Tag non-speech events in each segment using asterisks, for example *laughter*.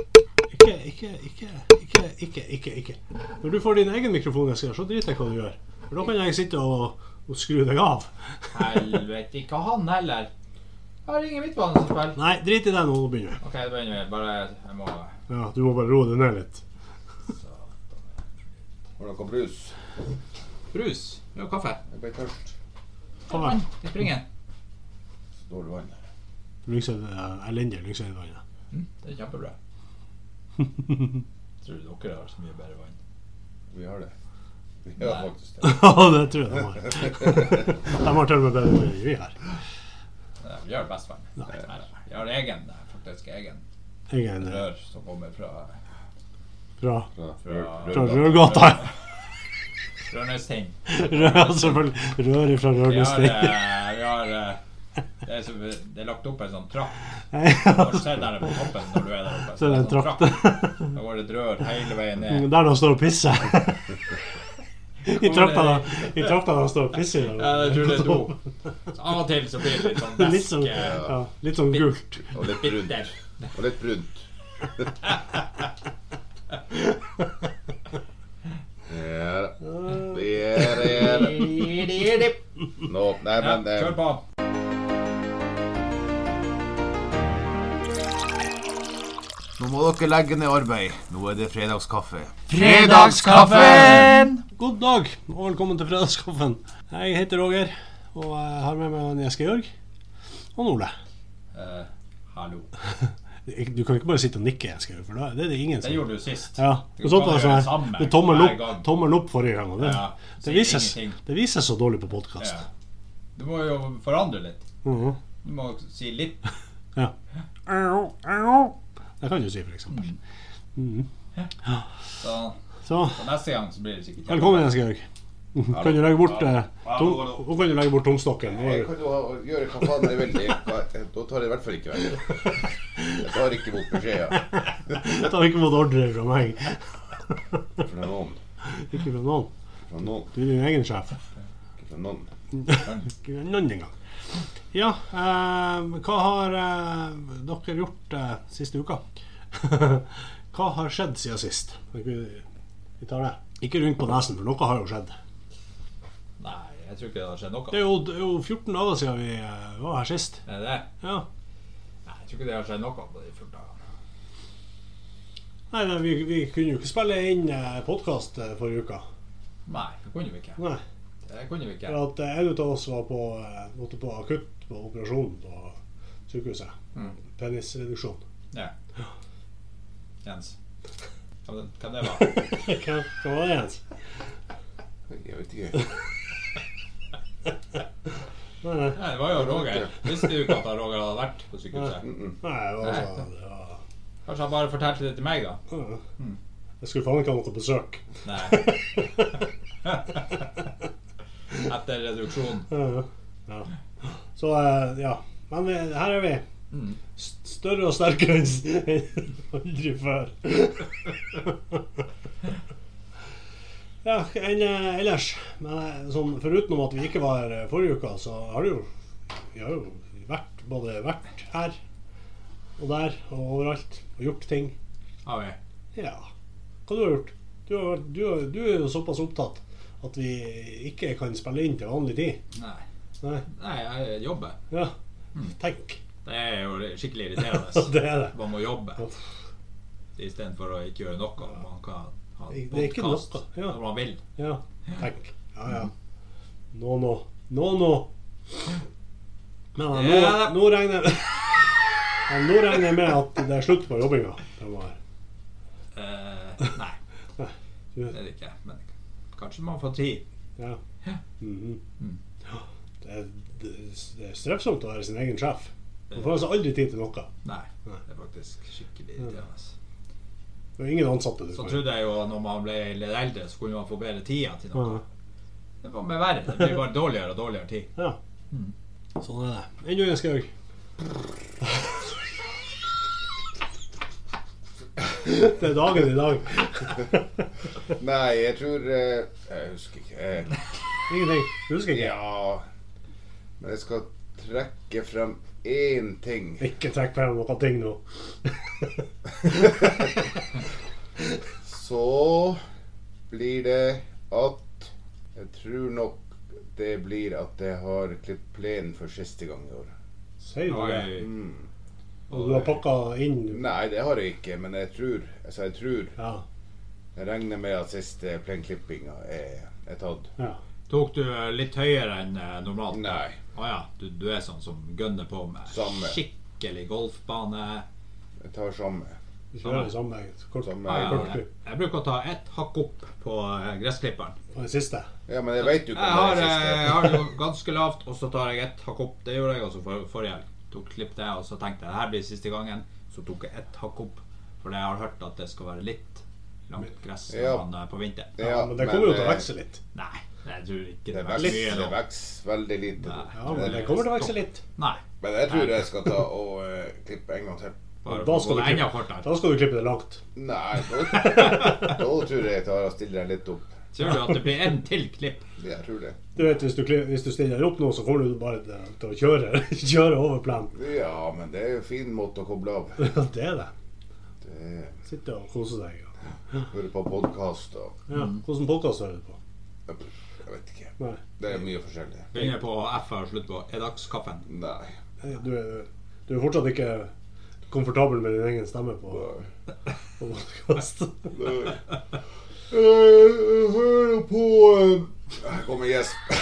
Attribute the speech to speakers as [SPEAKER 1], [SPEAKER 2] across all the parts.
[SPEAKER 1] Ikke, ikke, ikke, ikke, ikke, ikke, ikke. Når du får din egen mikrofon, Eskil, så driter jeg hva du gjør. For da kan jeg sitte og, og skru deg av.
[SPEAKER 2] Helvete, ikke han heller. Jeg har ingen midtbanespill.
[SPEAKER 1] Nei, drit i det nå. Nå begynner vi.
[SPEAKER 2] OK, da begynner vi. Bare Jeg må
[SPEAKER 1] Ja, du må bare roe deg ned litt.
[SPEAKER 3] Har dere brus?
[SPEAKER 2] Brus. Vi har kaffe.
[SPEAKER 3] Jeg ble tørst.
[SPEAKER 1] Ta vær.
[SPEAKER 2] I springen.
[SPEAKER 3] Så dårlig vann.
[SPEAKER 1] Lyngsøyd eh, elendig lyngsøydvannet.
[SPEAKER 2] Mm, det er kjempebra. Tror du dere har så mye bedre vann?
[SPEAKER 3] Vi har det. Vi har
[SPEAKER 2] Nei.
[SPEAKER 3] faktisk det.
[SPEAKER 1] *laughs* Ja, det tror jeg de har. *laughs* De har til og med bedre vann enn vi har.
[SPEAKER 2] Nei, Vi har best vann. Nei, nei, nei. Vi har egen, det er faktisk egen
[SPEAKER 1] Jeg er en eh,
[SPEAKER 2] rør som kommer fra
[SPEAKER 1] fra,
[SPEAKER 3] Fra,
[SPEAKER 2] Fra-
[SPEAKER 1] fra Rørgata.
[SPEAKER 2] Rørnestind.
[SPEAKER 1] *laughs* Rør, selvfølgelig. Rør ifra
[SPEAKER 2] Vi har,
[SPEAKER 1] Rørnesting. *laughs*
[SPEAKER 2] eh, vi har eh, det, er så, det er lagt opp en sånn trapp. Du har sett der på toppen når du er der oppe.
[SPEAKER 1] Så er det en
[SPEAKER 2] sånn
[SPEAKER 1] trapp.
[SPEAKER 2] Da går det et rør hele veien
[SPEAKER 1] *laughs*
[SPEAKER 2] ned.
[SPEAKER 1] Mm, Der de står og pisser. *laughs* I trappa da- i trappa de står og pisser. i
[SPEAKER 2] Ja,
[SPEAKER 1] dag.
[SPEAKER 2] jeg tror det er to. Så av og til så blir det litt sånn
[SPEAKER 1] Litt
[SPEAKER 2] væske.
[SPEAKER 1] sånn, ja, litt sånn gult.
[SPEAKER 3] Og litt
[SPEAKER 2] Bitter.
[SPEAKER 3] brunt. Og litt brunt. Der. Der er det.
[SPEAKER 2] Ja,
[SPEAKER 3] Nå, nei, men eh,
[SPEAKER 2] kjør på.
[SPEAKER 3] Nå må dere legge ned arbeid. Nå er det fredagskaffe.
[SPEAKER 2] Fredagskaffen!
[SPEAKER 1] *laughs* God dag og velkommen til fredagskaffen. Jeg heter Roger, og jeg har med meg han Jeske Jørg og Ole.
[SPEAKER 2] Eh, hallo.
[SPEAKER 1] Du kan ikke bare sitte og nikke, Jeske, Jørg, for da det er det ingen
[SPEAKER 2] Det
[SPEAKER 1] som
[SPEAKER 2] gjorde du sist.
[SPEAKER 1] ja,
[SPEAKER 2] Du
[SPEAKER 1] og sånt
[SPEAKER 2] kan
[SPEAKER 1] var
[SPEAKER 2] gjøre det
[SPEAKER 1] sånn
[SPEAKER 2] samme
[SPEAKER 1] her. Tommel
[SPEAKER 2] hver
[SPEAKER 1] opp,
[SPEAKER 2] gang.
[SPEAKER 1] tommel opp forrige gang. Og det,
[SPEAKER 2] Ja,
[SPEAKER 1] det,
[SPEAKER 2] sier
[SPEAKER 1] vises,
[SPEAKER 2] ingenting.
[SPEAKER 1] det vises så dårlig på podkast.
[SPEAKER 2] Du må jo forandre litt.
[SPEAKER 1] Mhm.
[SPEAKER 2] Du må si litt.
[SPEAKER 1] Ja. Au, au. Det kan du si, for eksempel.
[SPEAKER 2] Så,
[SPEAKER 1] Så
[SPEAKER 2] så neste gang så blir det sikkert
[SPEAKER 1] Velkommen, Jens Georg. Kan du legge bort eh, tom,
[SPEAKER 2] Hallo.
[SPEAKER 1] Nå kan du legge bort tomstokken. Nå
[SPEAKER 3] Jeg
[SPEAKER 1] er du-
[SPEAKER 3] kan jo ha- gjøre hva faen jeg vil. Jeg- Da tar jeg i hvert fall ikke vekk. Jeg tar ikke imot beskjeder
[SPEAKER 1] Ta ikke imot ordre fra meg.
[SPEAKER 3] fra noen.
[SPEAKER 1] Ikke fra noen.
[SPEAKER 3] Fra noen.
[SPEAKER 1] Du er din egen sjef.
[SPEAKER 3] Ikke fra noen.
[SPEAKER 1] Ikke fra noen engang. Ja, eh, hva har eh, dere gjort eh, siste uka? *laughs* hva har skjedd siden sist? Kan ikke- Vi tar det. Ikke rundt på nesen, for noe har jo skjedd.
[SPEAKER 2] Nei, jeg tror ikke det har skjedd
[SPEAKER 1] Det
[SPEAKER 2] noe.
[SPEAKER 1] er jo, det er jo 14 dager siden vi eh, var her sist.
[SPEAKER 2] Er det det?
[SPEAKER 1] Ja.
[SPEAKER 2] Nei, jeg tror ikke det har skjedd noe på de 14 dagene.
[SPEAKER 1] Nei, nei vi, vi kunne jo ikke spille inn podkast forrige uke.
[SPEAKER 2] Nei, det kunne vi ikke.
[SPEAKER 1] Nei.
[SPEAKER 2] Det kunne vi ikke.
[SPEAKER 1] For at eh, en av oss var på, eh, måtte på akutt på operasjon på sykehuset.
[SPEAKER 2] Mm.
[SPEAKER 1] Penisreduksjon.
[SPEAKER 2] Ja. Jens. Hva det- hva det
[SPEAKER 1] *laughs*
[SPEAKER 2] var?
[SPEAKER 1] Hva, hva var det, Jens?
[SPEAKER 3] Jeg vet ikke.
[SPEAKER 1] Nei, nei.
[SPEAKER 2] Nei, det var jo Roger. Visste du ikke at han Roger hadde vært på sykehuset?
[SPEAKER 1] nei det var altså det var,
[SPEAKER 2] Kanskje han bare fortalte det til meg, da?
[SPEAKER 1] ja. Jeg skulle faen ikke ha noe besøk.
[SPEAKER 2] Nei. *laughs*
[SPEAKER 1] *laughs*
[SPEAKER 2] Etter reduksjonen.
[SPEAKER 1] Ja, ja. Så eh, ja. Men vi, her er vi.
[SPEAKER 2] Mm.
[SPEAKER 1] S- Større og sterkere enn s- *laughs* enn aldri før. *laughs* Ja, enn eh, ellers. Men eh, sånn, foruten om at vi ikke var her eh, forrige uke, så har det jo Vi har jo vært både vært her og der og overalt og gjort ting.
[SPEAKER 2] Har vi.
[SPEAKER 1] Ja. Hva du har gjort? Du, har, vært- du, har, du er jo såpass opptatt at vi ikke kan spille inn til vanlig tid.
[SPEAKER 2] Nei.
[SPEAKER 1] Nei.
[SPEAKER 2] Nei, jeg jobber.
[SPEAKER 1] Ja.
[SPEAKER 2] Mm.
[SPEAKER 1] Tenk.
[SPEAKER 2] Det er jo skikkelig *laughs*
[SPEAKER 1] Så
[SPEAKER 2] irriterende.
[SPEAKER 1] *laughs* det er det.
[SPEAKER 2] Man må jobbe istedenfor å ikke gjøre noe. Man kan ha
[SPEAKER 1] Det er ikke
[SPEAKER 2] podcast
[SPEAKER 1] noe, ja.
[SPEAKER 2] når man vil.
[SPEAKER 1] Ja, takk. Ja, ja. Nå, nå. Nå, nå. Men ja, nå,
[SPEAKER 2] Ja.
[SPEAKER 1] nå regner jeg *laughs* ja, Nå regner jeg med at det er slutt på jobbinga. fremover.
[SPEAKER 2] Eh, nei,
[SPEAKER 1] Du-
[SPEAKER 2] det er det ikke. Men kanskje man får tid.
[SPEAKER 1] Ja. Mhm.
[SPEAKER 2] Mm.
[SPEAKER 1] Ja, Det er, det- det er strevsomt å være sin egen sjef. Man får altså aldri tid til noe.
[SPEAKER 2] Nei,
[SPEAKER 1] Nei.
[SPEAKER 2] det er faktisk skikkelig irriterende.
[SPEAKER 1] Det er ingen ansatte. du
[SPEAKER 2] Så
[SPEAKER 1] kan-
[SPEAKER 2] trodde jeg jo at når man ble litt eldre, så kunne man få bedre tida til noe.
[SPEAKER 1] Ja.
[SPEAKER 2] Det var med verre. Det blir bare dårligere og dårligere tid.
[SPEAKER 1] Ja. Sånn er det. Enn du, Jens Georg? *laughs* Det er dagen i dag.
[SPEAKER 2] *laughs*
[SPEAKER 3] Nei, jeg tror eh, Jeg husker ikke. Eh,
[SPEAKER 1] Ingenting. Du husker ikke?
[SPEAKER 3] Ja Men jeg skal trekke frem
[SPEAKER 2] *laughs*
[SPEAKER 3] én ting.
[SPEAKER 1] Ikke trekk frem noen ting nå.
[SPEAKER 3] at jeg har klippet plenen for siste gang i år.
[SPEAKER 1] Sier du det?
[SPEAKER 2] Oi.
[SPEAKER 3] Mm.
[SPEAKER 1] Og du har pakka inn
[SPEAKER 3] Nei, det har jeg ikke, men jeg tror Altså, jeg tror
[SPEAKER 1] Ja.
[SPEAKER 3] Jeg regner med at siste plenklippinga er, er tatt.
[SPEAKER 1] ja.
[SPEAKER 2] Tok du litt høyere enn eh, normalt?
[SPEAKER 3] Nei.
[SPEAKER 2] Å ja, du, du er sånn som gønner på med
[SPEAKER 3] Samme.
[SPEAKER 2] skikkelig golfbane.
[SPEAKER 3] Jeg tar samme.
[SPEAKER 1] Du kjører samme kort
[SPEAKER 3] samme
[SPEAKER 2] Ja, ja, jeg,
[SPEAKER 1] kortklipp
[SPEAKER 2] jeg bruker å ta ett hakk opp på eh, gressklipperen.
[SPEAKER 1] på den siste.
[SPEAKER 3] Ja, men jeg veit jo
[SPEAKER 2] Jeg
[SPEAKER 3] ikke om
[SPEAKER 2] har,
[SPEAKER 3] det
[SPEAKER 2] eh,
[SPEAKER 3] er
[SPEAKER 2] jeg
[SPEAKER 3] siste.
[SPEAKER 2] har det jo ganske lavt, og så tar jeg ett hakk opp. Det gjorde jeg også for, forrige helg. Tok klipp det, og så tenkte jeg det her blir siste gangen. Så tok jeg ett hakk opp, for jeg har hørt at det skal være litt langt gress når
[SPEAKER 3] Ja.
[SPEAKER 2] man er på vinteren.
[SPEAKER 1] Ja, men det kommer jo til å
[SPEAKER 3] eh,
[SPEAKER 1] vokse litt.
[SPEAKER 2] Nei, jeg tror ikke
[SPEAKER 3] Det
[SPEAKER 2] det blir
[SPEAKER 3] vokser
[SPEAKER 2] mye
[SPEAKER 3] det
[SPEAKER 2] nå.
[SPEAKER 3] vokser veldig lite. nå.
[SPEAKER 2] Nei.
[SPEAKER 1] Ja, men det kommer til å vokse litt.
[SPEAKER 2] Nei.
[SPEAKER 3] Men jeg tror jeg skal ta og eh, klippe en gang til.
[SPEAKER 2] Bare
[SPEAKER 1] Da skal,
[SPEAKER 2] gå
[SPEAKER 1] du
[SPEAKER 2] det enda
[SPEAKER 1] klippe,
[SPEAKER 2] kortere.
[SPEAKER 1] da skal du klippe det langt.
[SPEAKER 3] Nei, da, da tror jeg jeg tar og stiller den litt opp.
[SPEAKER 2] Tror du at det blir en til klipp?
[SPEAKER 3] Jeg tror det.
[SPEAKER 1] Du vet, Hvis du, kli- hvis du stiller opp nå, så kommer du bare til til å kjøre, *laughs* kjøre over plenen.
[SPEAKER 3] Ja, men det er jo en fin måte å koble av.
[SPEAKER 1] *laughs* Ja, det er det.
[SPEAKER 3] Det er,
[SPEAKER 1] Sitte og kose deg. ja.
[SPEAKER 3] høre på podkast og
[SPEAKER 1] Ja. Hvordan podkast hører du på?
[SPEAKER 3] Jeg vet ikke.
[SPEAKER 1] Nei,
[SPEAKER 3] Det er mye forskjellig.
[SPEAKER 2] Begynner på F og slutt på Edakskaffen.
[SPEAKER 3] Nei.
[SPEAKER 1] du er, du er fortsatt ikke komfortabel med din egen stemme på, på podkast.
[SPEAKER 3] Nei. Jeg hører på eh, Her kommer gjesp.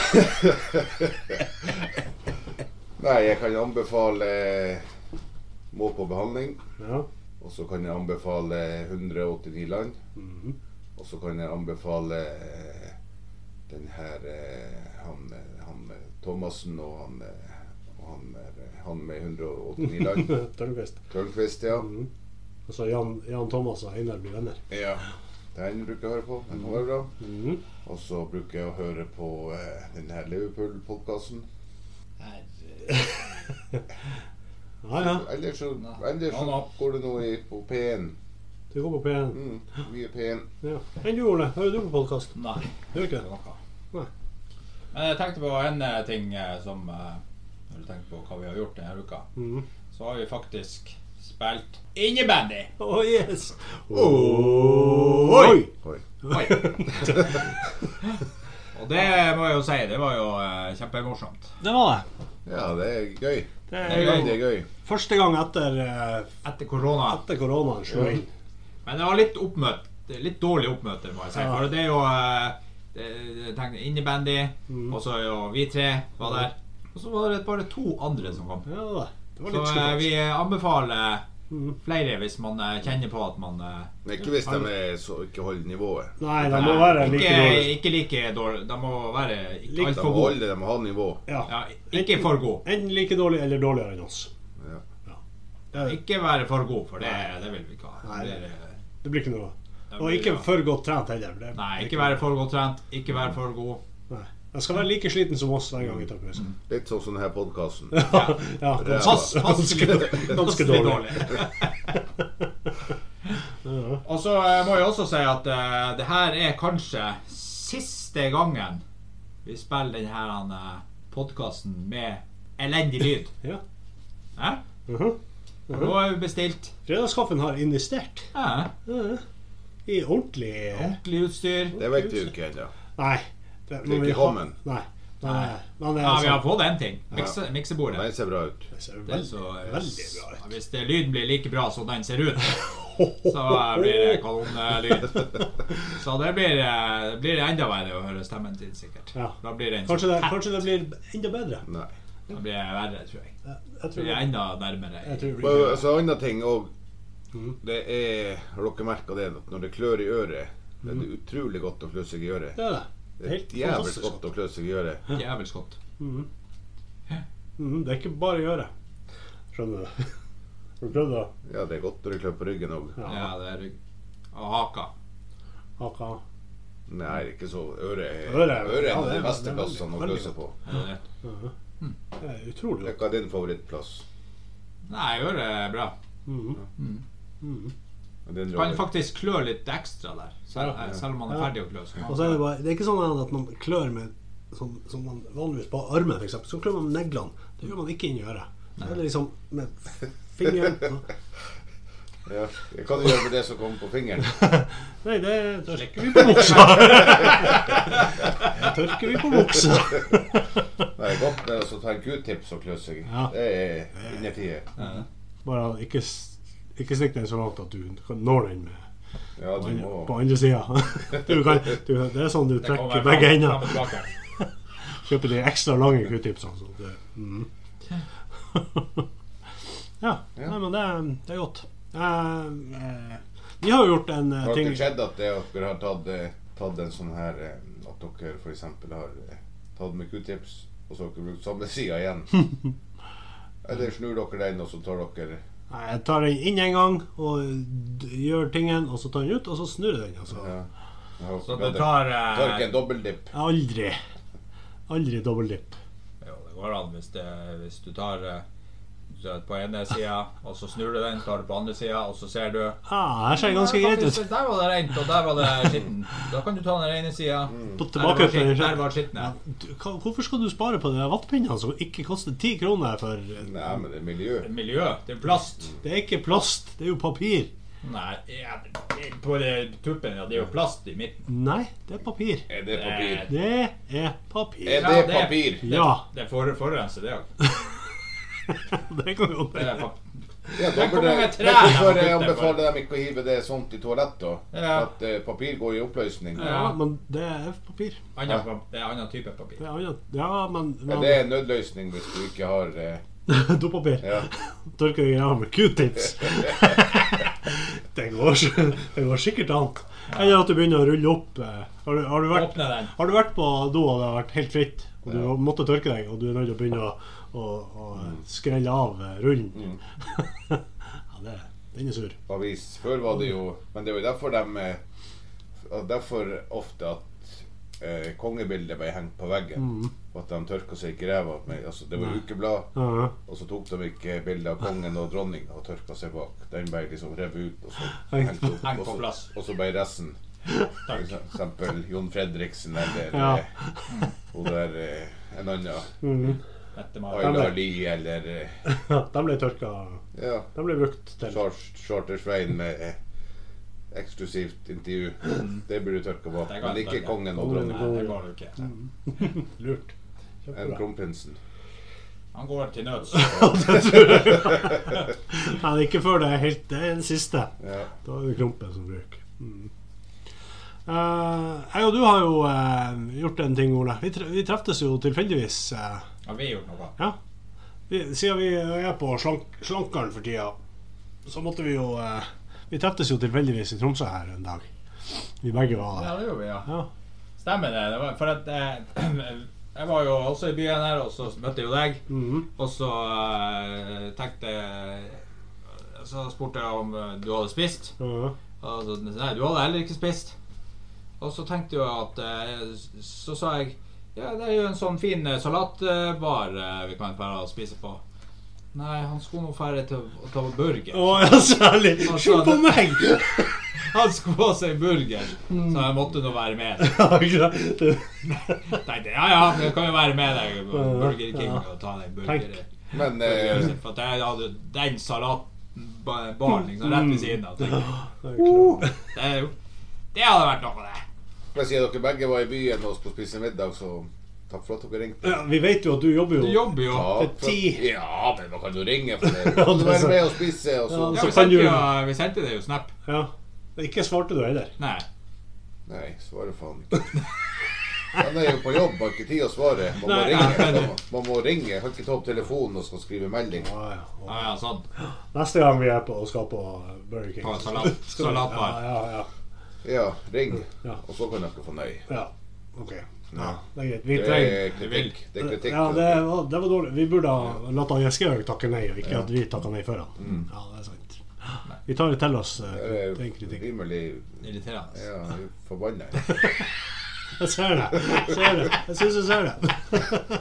[SPEAKER 3] Nei, jeg kan anbefale eh, Må på behandling.
[SPEAKER 1] *laughs* Ja.
[SPEAKER 3] Og så kan jeg anbefale 189 land.
[SPEAKER 1] Mhm.
[SPEAKER 3] Og så kan jeg anbefale eh, den her eh, han, eh, han eh, Thomassen og han, eh, og han, eh, han med *laughs* 189
[SPEAKER 1] *laughs*
[SPEAKER 3] land.
[SPEAKER 1] Tørnquist.
[SPEAKER 3] Tørnquist, ja.
[SPEAKER 1] Mhm. Og så Jan, Jan Thomas og Einar blir venner.
[SPEAKER 3] ja. Den bruker jeg å høre på. Den var bra.
[SPEAKER 1] Mhm.
[SPEAKER 3] Og så bruker jeg å høre på eh, den her Liverpool-podkasten.
[SPEAKER 1] Ja, ja.
[SPEAKER 3] Ellers så,
[SPEAKER 2] Nei. Ja,
[SPEAKER 3] ellers så
[SPEAKER 2] da.
[SPEAKER 3] går det nå i, på P1.
[SPEAKER 1] Du går på P1.
[SPEAKER 3] Mm, mye P1.
[SPEAKER 1] Ja. Enn du, Ole? Hører du på podkast?
[SPEAKER 2] Nei.
[SPEAKER 1] Gjør ikke
[SPEAKER 2] det
[SPEAKER 1] det?
[SPEAKER 2] var ikke.
[SPEAKER 1] Nei.
[SPEAKER 2] Men jeg tenkte på en eh, ting eh, som eh, Når du tenker på hva vi har gjort denne uka,
[SPEAKER 1] Mhm.
[SPEAKER 2] så har vi faktisk spilt innebandy.
[SPEAKER 1] Oh, yes.
[SPEAKER 2] Oi!
[SPEAKER 3] Oi.
[SPEAKER 2] *laughs* Oi. Og det må jeg jo si, det var jo eh, kjempemorsomt.
[SPEAKER 1] Det var det.
[SPEAKER 3] Ja, det er gøy.
[SPEAKER 1] Det
[SPEAKER 3] Det
[SPEAKER 1] er
[SPEAKER 3] er gøy. Det er gøy.
[SPEAKER 1] første gang etter, eh,
[SPEAKER 2] Etter korona.
[SPEAKER 1] etter koronaen slo inn.
[SPEAKER 2] Men det var litt oppmøte. Litt dårlig oppmøte, må jeg si.
[SPEAKER 1] Ja.
[SPEAKER 2] For det er jo eh, det- jeg tenkte innebandy,
[SPEAKER 1] Mm.
[SPEAKER 2] og så er jo vi tre var der. Og så var det bare to andre som kom.
[SPEAKER 1] Ja, da. det var
[SPEAKER 2] Så
[SPEAKER 1] litt
[SPEAKER 2] eh,
[SPEAKER 1] skuffende.
[SPEAKER 2] vi anbefaler
[SPEAKER 1] Mhm.
[SPEAKER 2] flere hvis man eh, kjenner på at man eh,
[SPEAKER 3] Men ikke hvis de er så, ikke holder nivået.
[SPEAKER 1] Nei, de må være like
[SPEAKER 2] ikke,
[SPEAKER 1] dårlige.
[SPEAKER 2] ikke like dårlig. De må være
[SPEAKER 1] Like-
[SPEAKER 2] ikke
[SPEAKER 3] De
[SPEAKER 2] altfor
[SPEAKER 3] må
[SPEAKER 2] gode.
[SPEAKER 3] holde, de må ha nivå.
[SPEAKER 1] Ja.
[SPEAKER 2] Ja, ikke for god.
[SPEAKER 1] Enten like dårlig eller dårligere enn oss.
[SPEAKER 3] Ja.
[SPEAKER 1] Det
[SPEAKER 2] Ikke være for god, for det, det vil vi ikke ha.
[SPEAKER 1] Nei.
[SPEAKER 2] Det er-
[SPEAKER 1] det blir ikke noe.
[SPEAKER 2] det
[SPEAKER 1] Og
[SPEAKER 2] blir-
[SPEAKER 1] ikke for godt trent heller. Det,
[SPEAKER 2] Nei, ikke være for godt trent, ikke være for god.
[SPEAKER 1] Nei. Jeg skal være like sliten som oss hver gang vi tar pause.
[SPEAKER 3] Litt sånn som denne podkasten.
[SPEAKER 1] Ja,
[SPEAKER 2] Pass,
[SPEAKER 1] ganske,
[SPEAKER 2] passelig,
[SPEAKER 1] ganske, ganske dårlig. Ja.
[SPEAKER 2] Og så eh, må jeg også si at eh, det her er kanskje siste gangen vi spiller denne uh, podkasten med elendig lyd.
[SPEAKER 1] Ja.
[SPEAKER 2] Hæ?
[SPEAKER 1] Mhm.
[SPEAKER 2] For Nå er vi bestilt
[SPEAKER 1] Fredagskaffen har investert
[SPEAKER 2] ja,
[SPEAKER 1] Ja. i ordentlig
[SPEAKER 2] ordentlig utstyr.
[SPEAKER 3] Det vet vi jo ikke ennå.
[SPEAKER 1] Nei. Det,
[SPEAKER 3] Det er ikke
[SPEAKER 1] har-
[SPEAKER 3] kommen.
[SPEAKER 1] Nei. Nei. Men det er
[SPEAKER 2] Ja, vi har
[SPEAKER 1] sånn-
[SPEAKER 2] fått en ting. Mikse,
[SPEAKER 3] Den
[SPEAKER 2] miksebordet.
[SPEAKER 3] ser bra ut.
[SPEAKER 1] det ser
[SPEAKER 2] Det er
[SPEAKER 1] veldig,
[SPEAKER 2] så, eh,
[SPEAKER 1] veldig bra ut.
[SPEAKER 2] Hvis det, lyden blir like bra som den ser
[SPEAKER 1] *laughs*
[SPEAKER 2] ut, så eh, blir det kanonlyd. Så det blir, eh, blir enda verre å høre stemmen din, sikkert.
[SPEAKER 1] Ja.
[SPEAKER 2] Da blir den så
[SPEAKER 1] Kanskje det,
[SPEAKER 2] tett.
[SPEAKER 1] kanskje det blir enda bedre.
[SPEAKER 3] Nei.
[SPEAKER 2] Da blir det verre, tror jeg.
[SPEAKER 1] Jeg, jeg
[SPEAKER 2] Det
[SPEAKER 1] tror
[SPEAKER 2] blir
[SPEAKER 1] det.
[SPEAKER 2] enda nærmere.
[SPEAKER 1] Jeg tror det
[SPEAKER 3] Men,
[SPEAKER 1] blir
[SPEAKER 3] altså, andre ting òg.
[SPEAKER 1] Mhm.
[SPEAKER 3] Det er Har dere merka det? At når det klør i øret Det er utrolig godt å klø seg i øret.
[SPEAKER 1] Det er det.
[SPEAKER 3] Det er
[SPEAKER 1] Mm. Helt
[SPEAKER 3] jævlig
[SPEAKER 1] fantastisk
[SPEAKER 3] godt å klø seg i øret.
[SPEAKER 2] Jævels godt.
[SPEAKER 1] Mhm. Mhm, Det er ikke bare å gjøre. Skjønner du? *laughs* Har du prøvd det?
[SPEAKER 3] Ja, det er godt når det klør på ryggen òg.
[SPEAKER 2] Ja, det er rygg. Og haka.
[SPEAKER 1] Haka.
[SPEAKER 3] Nei, ikke så Øret er,
[SPEAKER 1] Øret er-
[SPEAKER 3] øret er
[SPEAKER 1] ja,
[SPEAKER 3] en av
[SPEAKER 1] det
[SPEAKER 3] de
[SPEAKER 1] er- det
[SPEAKER 3] beste
[SPEAKER 1] er
[SPEAKER 3] plassene å
[SPEAKER 1] veldig-
[SPEAKER 3] klø seg på.
[SPEAKER 2] Ja, det-
[SPEAKER 1] Det er utrolig godt.
[SPEAKER 3] Hva er din favorittplass?
[SPEAKER 2] Nei, jeg gjør det bra.
[SPEAKER 1] Mhm.
[SPEAKER 2] Mhm.
[SPEAKER 1] Mhm.
[SPEAKER 3] Og Din
[SPEAKER 2] Kan
[SPEAKER 3] Roger?
[SPEAKER 2] faktisk klø litt ekstra der, selv,
[SPEAKER 1] Ja.
[SPEAKER 2] selv om man er
[SPEAKER 1] Ja.
[SPEAKER 2] ferdig å klø. så kan
[SPEAKER 1] Og så er det bare Det er ikke sånn at man klør med som, som man vanligvis på armen, f.eks. Så klør man med neglene. Det gjør man ikke inni øret. Så er det liksom med fingeren
[SPEAKER 3] Ja. Hva du gjør med det som kommer
[SPEAKER 1] *laughs*
[SPEAKER 3] på fingeren?
[SPEAKER 1] Nei, det tørker
[SPEAKER 2] Slikker.
[SPEAKER 1] vi på buksa. Det tørker vi på buksa.
[SPEAKER 3] Nei, godt med å ta en q-tips og klø seg.
[SPEAKER 1] Ja.
[SPEAKER 3] Det er innertiet.
[SPEAKER 1] Bare ikke, s- ikke stikk den så langt at du kan- når den med
[SPEAKER 3] Ja, du
[SPEAKER 1] andre- på
[SPEAKER 3] må
[SPEAKER 1] andre sida. *laughs* Du kan, du, det er sånn du
[SPEAKER 2] Det kommer
[SPEAKER 1] trekker
[SPEAKER 2] fram-
[SPEAKER 1] begge ender.
[SPEAKER 2] fram og tilbake.
[SPEAKER 1] Kjøper de ekstra lange q-tipsene. sånn at det-
[SPEAKER 2] *laughs*
[SPEAKER 1] Mhm. ja.
[SPEAKER 3] Ja.
[SPEAKER 1] Nei, men det, er- det er godt. Eh, eh, vi har jo gjort en eh,
[SPEAKER 3] Har
[SPEAKER 1] ting
[SPEAKER 3] det skjedd at det at dere har tatt, eh, tatt en sånn her eh, At dere f.eks. har eh, tatt med q-tips, og så har dere brukt samme sida
[SPEAKER 1] *laughs*
[SPEAKER 3] igjen? Eller snur dere den, og så tar dere
[SPEAKER 1] Nei, Jeg tar den inn en gang og d- gjør tingen, og så tar den ut, og så snur jeg den. altså.
[SPEAKER 3] ja. Ja,
[SPEAKER 2] Så du
[SPEAKER 3] ja, det-
[SPEAKER 2] tar
[SPEAKER 3] tar ikke
[SPEAKER 2] eh,
[SPEAKER 3] en dobbeltdipp.
[SPEAKER 1] Aldri. Aldri dobbeltdipp.
[SPEAKER 2] Jo, det går an hvis, det, hvis du tar eh, du tar på ene sida, og så snur du den, tar du på andre sida, og så ser du
[SPEAKER 1] Ah, her ser det ganske
[SPEAKER 2] Ja,
[SPEAKER 1] greit
[SPEAKER 2] faktisk,
[SPEAKER 1] ut.
[SPEAKER 2] Der var det rent, og der var det skitten. Da kan du ta den ene sida.
[SPEAKER 1] På
[SPEAKER 2] Der var
[SPEAKER 1] tilbake til den
[SPEAKER 2] skitten, der
[SPEAKER 1] skitten.
[SPEAKER 2] var skitten, ja.
[SPEAKER 1] Du, hva- Hvorfor skal du spare på de der vattpinnene som ikke koster ti kroner for Det
[SPEAKER 3] Nei, men det er miljø.
[SPEAKER 2] Miljø. Det er plast.
[SPEAKER 1] er ikke plast, det er jo papir.
[SPEAKER 2] Nei, ja, det- på det- tuppen, ja. Det er jo plast i midten.
[SPEAKER 1] Nei, det er papir.
[SPEAKER 3] Er det papir?
[SPEAKER 1] Det er papir.
[SPEAKER 3] Er
[SPEAKER 2] Ja,
[SPEAKER 3] det
[SPEAKER 2] det-
[SPEAKER 3] papir?
[SPEAKER 1] Ja,
[SPEAKER 2] Det er for, forurenser, det òg.
[SPEAKER 1] *laughs* det kan jo
[SPEAKER 2] Det er
[SPEAKER 1] være.
[SPEAKER 2] pap-
[SPEAKER 3] Ja, da
[SPEAKER 2] Der kommer
[SPEAKER 3] burde
[SPEAKER 2] det
[SPEAKER 3] jeg,
[SPEAKER 2] trær
[SPEAKER 3] men hvorfor
[SPEAKER 2] her borte,
[SPEAKER 3] jeg anbefaler dem ikke å hive det sånt i toalett, da?
[SPEAKER 2] Ja.
[SPEAKER 3] At eh, papir går i oppløsning.
[SPEAKER 2] Ja.
[SPEAKER 1] Ja, men det er papir.
[SPEAKER 2] Anna, pap- det er annen type papir.
[SPEAKER 1] Det er annet. Ja, men,
[SPEAKER 3] Ja, det
[SPEAKER 1] men
[SPEAKER 3] er en nødløsning hvis du ikke har eh,
[SPEAKER 1] *laughs* Dopapir.
[SPEAKER 3] ja.
[SPEAKER 1] Tørker deg i ræva med
[SPEAKER 3] *laughs*
[SPEAKER 1] q-tips. Det går, s- det går sikkert an. Eller at du begynner å rulle opp. eh, Har du, har du, vært,
[SPEAKER 2] Åpne den.
[SPEAKER 1] har du vært på do og det har vært helt fritt, og du
[SPEAKER 3] Ja. Mm.
[SPEAKER 1] måtte tørke deg, og du er nødt til å begynne å, å, å skrelle av eh, rullen *laughs* Ja, det, den er sur.
[SPEAKER 3] avis. Før var det jo Men det var jo derfor dem eh, og Derfor ofte at eh, kongebildet ble hengt på veggen. Og at de tørka seg ikke i ræva. med- Altså, det var ukeblad,
[SPEAKER 1] Mm. Ja,
[SPEAKER 3] og så tok de ikke bilde av kongen og dronninga og tørka seg bak. Den ble liksom revet ut, og så
[SPEAKER 1] Hengt
[SPEAKER 3] hengt opp.
[SPEAKER 2] Hengt
[SPEAKER 3] Og
[SPEAKER 2] på
[SPEAKER 3] så,
[SPEAKER 2] plass.
[SPEAKER 3] og så ble resten For
[SPEAKER 2] Takk.
[SPEAKER 3] eksempel Jon Fredriksen eller
[SPEAKER 1] Ja.
[SPEAKER 3] eh, hun der eh, en annen.
[SPEAKER 1] Mhm.
[SPEAKER 2] Dette må-
[SPEAKER 3] Ayla Lie eller eh,
[SPEAKER 1] *laughs* De ble tørka
[SPEAKER 3] ja,
[SPEAKER 1] De ble brukt til
[SPEAKER 3] Charter- Charter-Svein med eh, eksklusivt intervju. Det burde du tørke bak.
[SPEAKER 2] Det kan
[SPEAKER 3] Men
[SPEAKER 2] jeg
[SPEAKER 3] ikke
[SPEAKER 2] tørke.
[SPEAKER 3] kongen og
[SPEAKER 2] Nei,
[SPEAKER 3] dronningen.
[SPEAKER 2] det går jo ikke.
[SPEAKER 1] lurt.
[SPEAKER 3] En
[SPEAKER 1] Kjempebra.
[SPEAKER 3] kronprinsen.
[SPEAKER 2] Han går til nøds.
[SPEAKER 1] Nei, ikke før det er helt Det er den siste.
[SPEAKER 3] Ja.
[SPEAKER 1] Da er det klumpen som ryker. Mm. Eh, jeg og du har jo eh, gjort en ting, Ole. Vi, tre vi treftes jo tilfeldigvis. eh,
[SPEAKER 2] Har vi gjort noe?
[SPEAKER 1] ja. vi, siden vi er på slank slankeren for tida, så måtte vi jo eh, Vi treftes jo tilfeldigvis i Tromsø her en dag. Vi begge var der.
[SPEAKER 2] Ja, det gjorde vi, ja.
[SPEAKER 1] Ja.
[SPEAKER 2] Stemmer det. det var, for at eh, *clears throat* jeg var jo også i byen her, og så møtte jeg jo deg.
[SPEAKER 1] Mhm.
[SPEAKER 2] Og så eh, tenkte jeg Så spurte jeg om eh, du hadde spist.
[SPEAKER 1] Ja.
[SPEAKER 2] Og så, Altså, nei, du hadde heller ikke spist. Og så tenkte jeg at eh, Så sa jeg Ja, det er jo en sånn fin eh, salatbar eh, vi kan dra og spise på. Nei, han skulle nå dra til å ta burger.
[SPEAKER 1] Å, ja, *laughs* særlig!
[SPEAKER 2] Altså,
[SPEAKER 1] Se på
[SPEAKER 2] det-
[SPEAKER 1] meg!
[SPEAKER 2] Han skulle ha seg burger, så jeg måtte nå være med.
[SPEAKER 1] *laughs* Ja, ikke sant? Det-
[SPEAKER 2] Tenkte jeg, ja, ja, men jeg kan jo være med deg på Burger King
[SPEAKER 1] Ja.
[SPEAKER 2] og ta deg burger.
[SPEAKER 1] Tenk.
[SPEAKER 3] Men eh,
[SPEAKER 2] For at jeg hadde den salatbaren liksom rett ved siden av. tenkte jeg.
[SPEAKER 1] det er klart.
[SPEAKER 2] Det, er jo, det hadde vært noe, det.
[SPEAKER 3] men siden dere begge var i byen og skulle spise middag, så takk for at dere ringte.
[SPEAKER 1] Ja, vi vet jo at du jobber jo.
[SPEAKER 2] Du jobber jo.
[SPEAKER 3] Ja,
[SPEAKER 1] Det er ti.
[SPEAKER 3] ja, men man kan jo ringe for det.
[SPEAKER 1] Ja, det
[SPEAKER 3] Du kan
[SPEAKER 1] er
[SPEAKER 3] være
[SPEAKER 1] sant.
[SPEAKER 3] med og spise, og
[SPEAKER 1] Ja,
[SPEAKER 3] så
[SPEAKER 2] Ja,
[SPEAKER 1] så
[SPEAKER 2] vi,
[SPEAKER 1] kan
[SPEAKER 2] sendte
[SPEAKER 1] du-
[SPEAKER 2] jo, vi sendte det jo Snap.
[SPEAKER 1] Ja. Ikke svarte du heller.
[SPEAKER 2] Nei.
[SPEAKER 3] Nei, svarer faen ikke. Han er jo på jobb, har ikke tid å svare. Man må
[SPEAKER 1] Nei,
[SPEAKER 2] nei,
[SPEAKER 3] ringe.
[SPEAKER 2] nei.
[SPEAKER 3] Man må ringe. Kan ikke ta opp telefonen og skal skrive melding.
[SPEAKER 1] Ja, ja.
[SPEAKER 2] Ja, ja, sånn.
[SPEAKER 1] Neste gang vi er på og skal på Burger King.
[SPEAKER 2] På salat-
[SPEAKER 1] Skal vi-
[SPEAKER 2] salatbar.
[SPEAKER 1] Ja, ja, ja.
[SPEAKER 3] Ja, ring,
[SPEAKER 1] Ja.
[SPEAKER 3] og så kan dere få nei.
[SPEAKER 1] ja. Ok.
[SPEAKER 3] Ja.
[SPEAKER 1] Det er greit. Vi
[SPEAKER 3] Det
[SPEAKER 1] trenger
[SPEAKER 3] er kritikk. Det er kritikk.
[SPEAKER 1] ja, det, var, det var dårlig. Vi burde ha latt han Jeskhaug takke nei, og ikke at vi takka nei før han. Ja, det er sant. Vi tar det til oss, eh,
[SPEAKER 3] Mm. Det
[SPEAKER 1] den
[SPEAKER 3] er
[SPEAKER 1] kritikken.
[SPEAKER 3] rimelig
[SPEAKER 2] Irriterende.
[SPEAKER 3] ja, forbanna.
[SPEAKER 1] Jeg ser det. Jeg ser det. Jeg syns jeg ser det.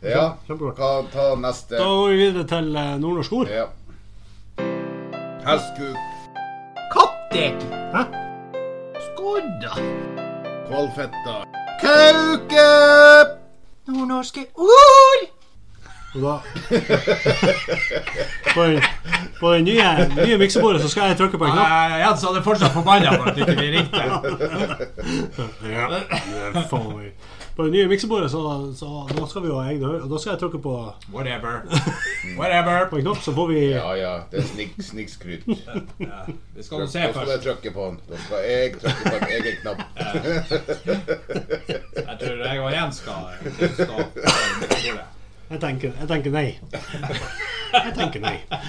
[SPEAKER 3] Ja,
[SPEAKER 1] Kjempebra.
[SPEAKER 3] hva ta neste?
[SPEAKER 1] Da går vi videre til eh, nordnorsk ord.
[SPEAKER 3] Ja. Hestkuk,
[SPEAKER 2] Kattek!
[SPEAKER 1] Hæ?
[SPEAKER 2] Skodda!
[SPEAKER 3] kvalfetta, kauke!
[SPEAKER 2] Nordnorske ord!
[SPEAKER 1] Og da På den, på den nye, nye miksebordet så skal jeg trykke på en knapp.
[SPEAKER 2] Nei, Jens hadde fortsatt forbanna for at ikke vi ringte.
[SPEAKER 1] Ja,
[SPEAKER 3] *laughs*
[SPEAKER 1] det er faen meg. På det nye miksebordet så, så da skal vi jo ha egne hører, og da skal jeg trykke på,
[SPEAKER 2] Whatever. Whatever.
[SPEAKER 1] på en knapp, så får vi
[SPEAKER 3] Ja ja, det er snik, snikskryt. Da
[SPEAKER 2] Vi skal jo se
[SPEAKER 3] skal jeg
[SPEAKER 2] først.
[SPEAKER 3] trykke på den. Da skal jeg trykke på en egen knapp.
[SPEAKER 2] Jeg tror jeg og Jens skal, skal på bordet.
[SPEAKER 1] Jeg tenker, jeg tenker nei. Jeg tenker nei.
[SPEAKER 3] *laughs*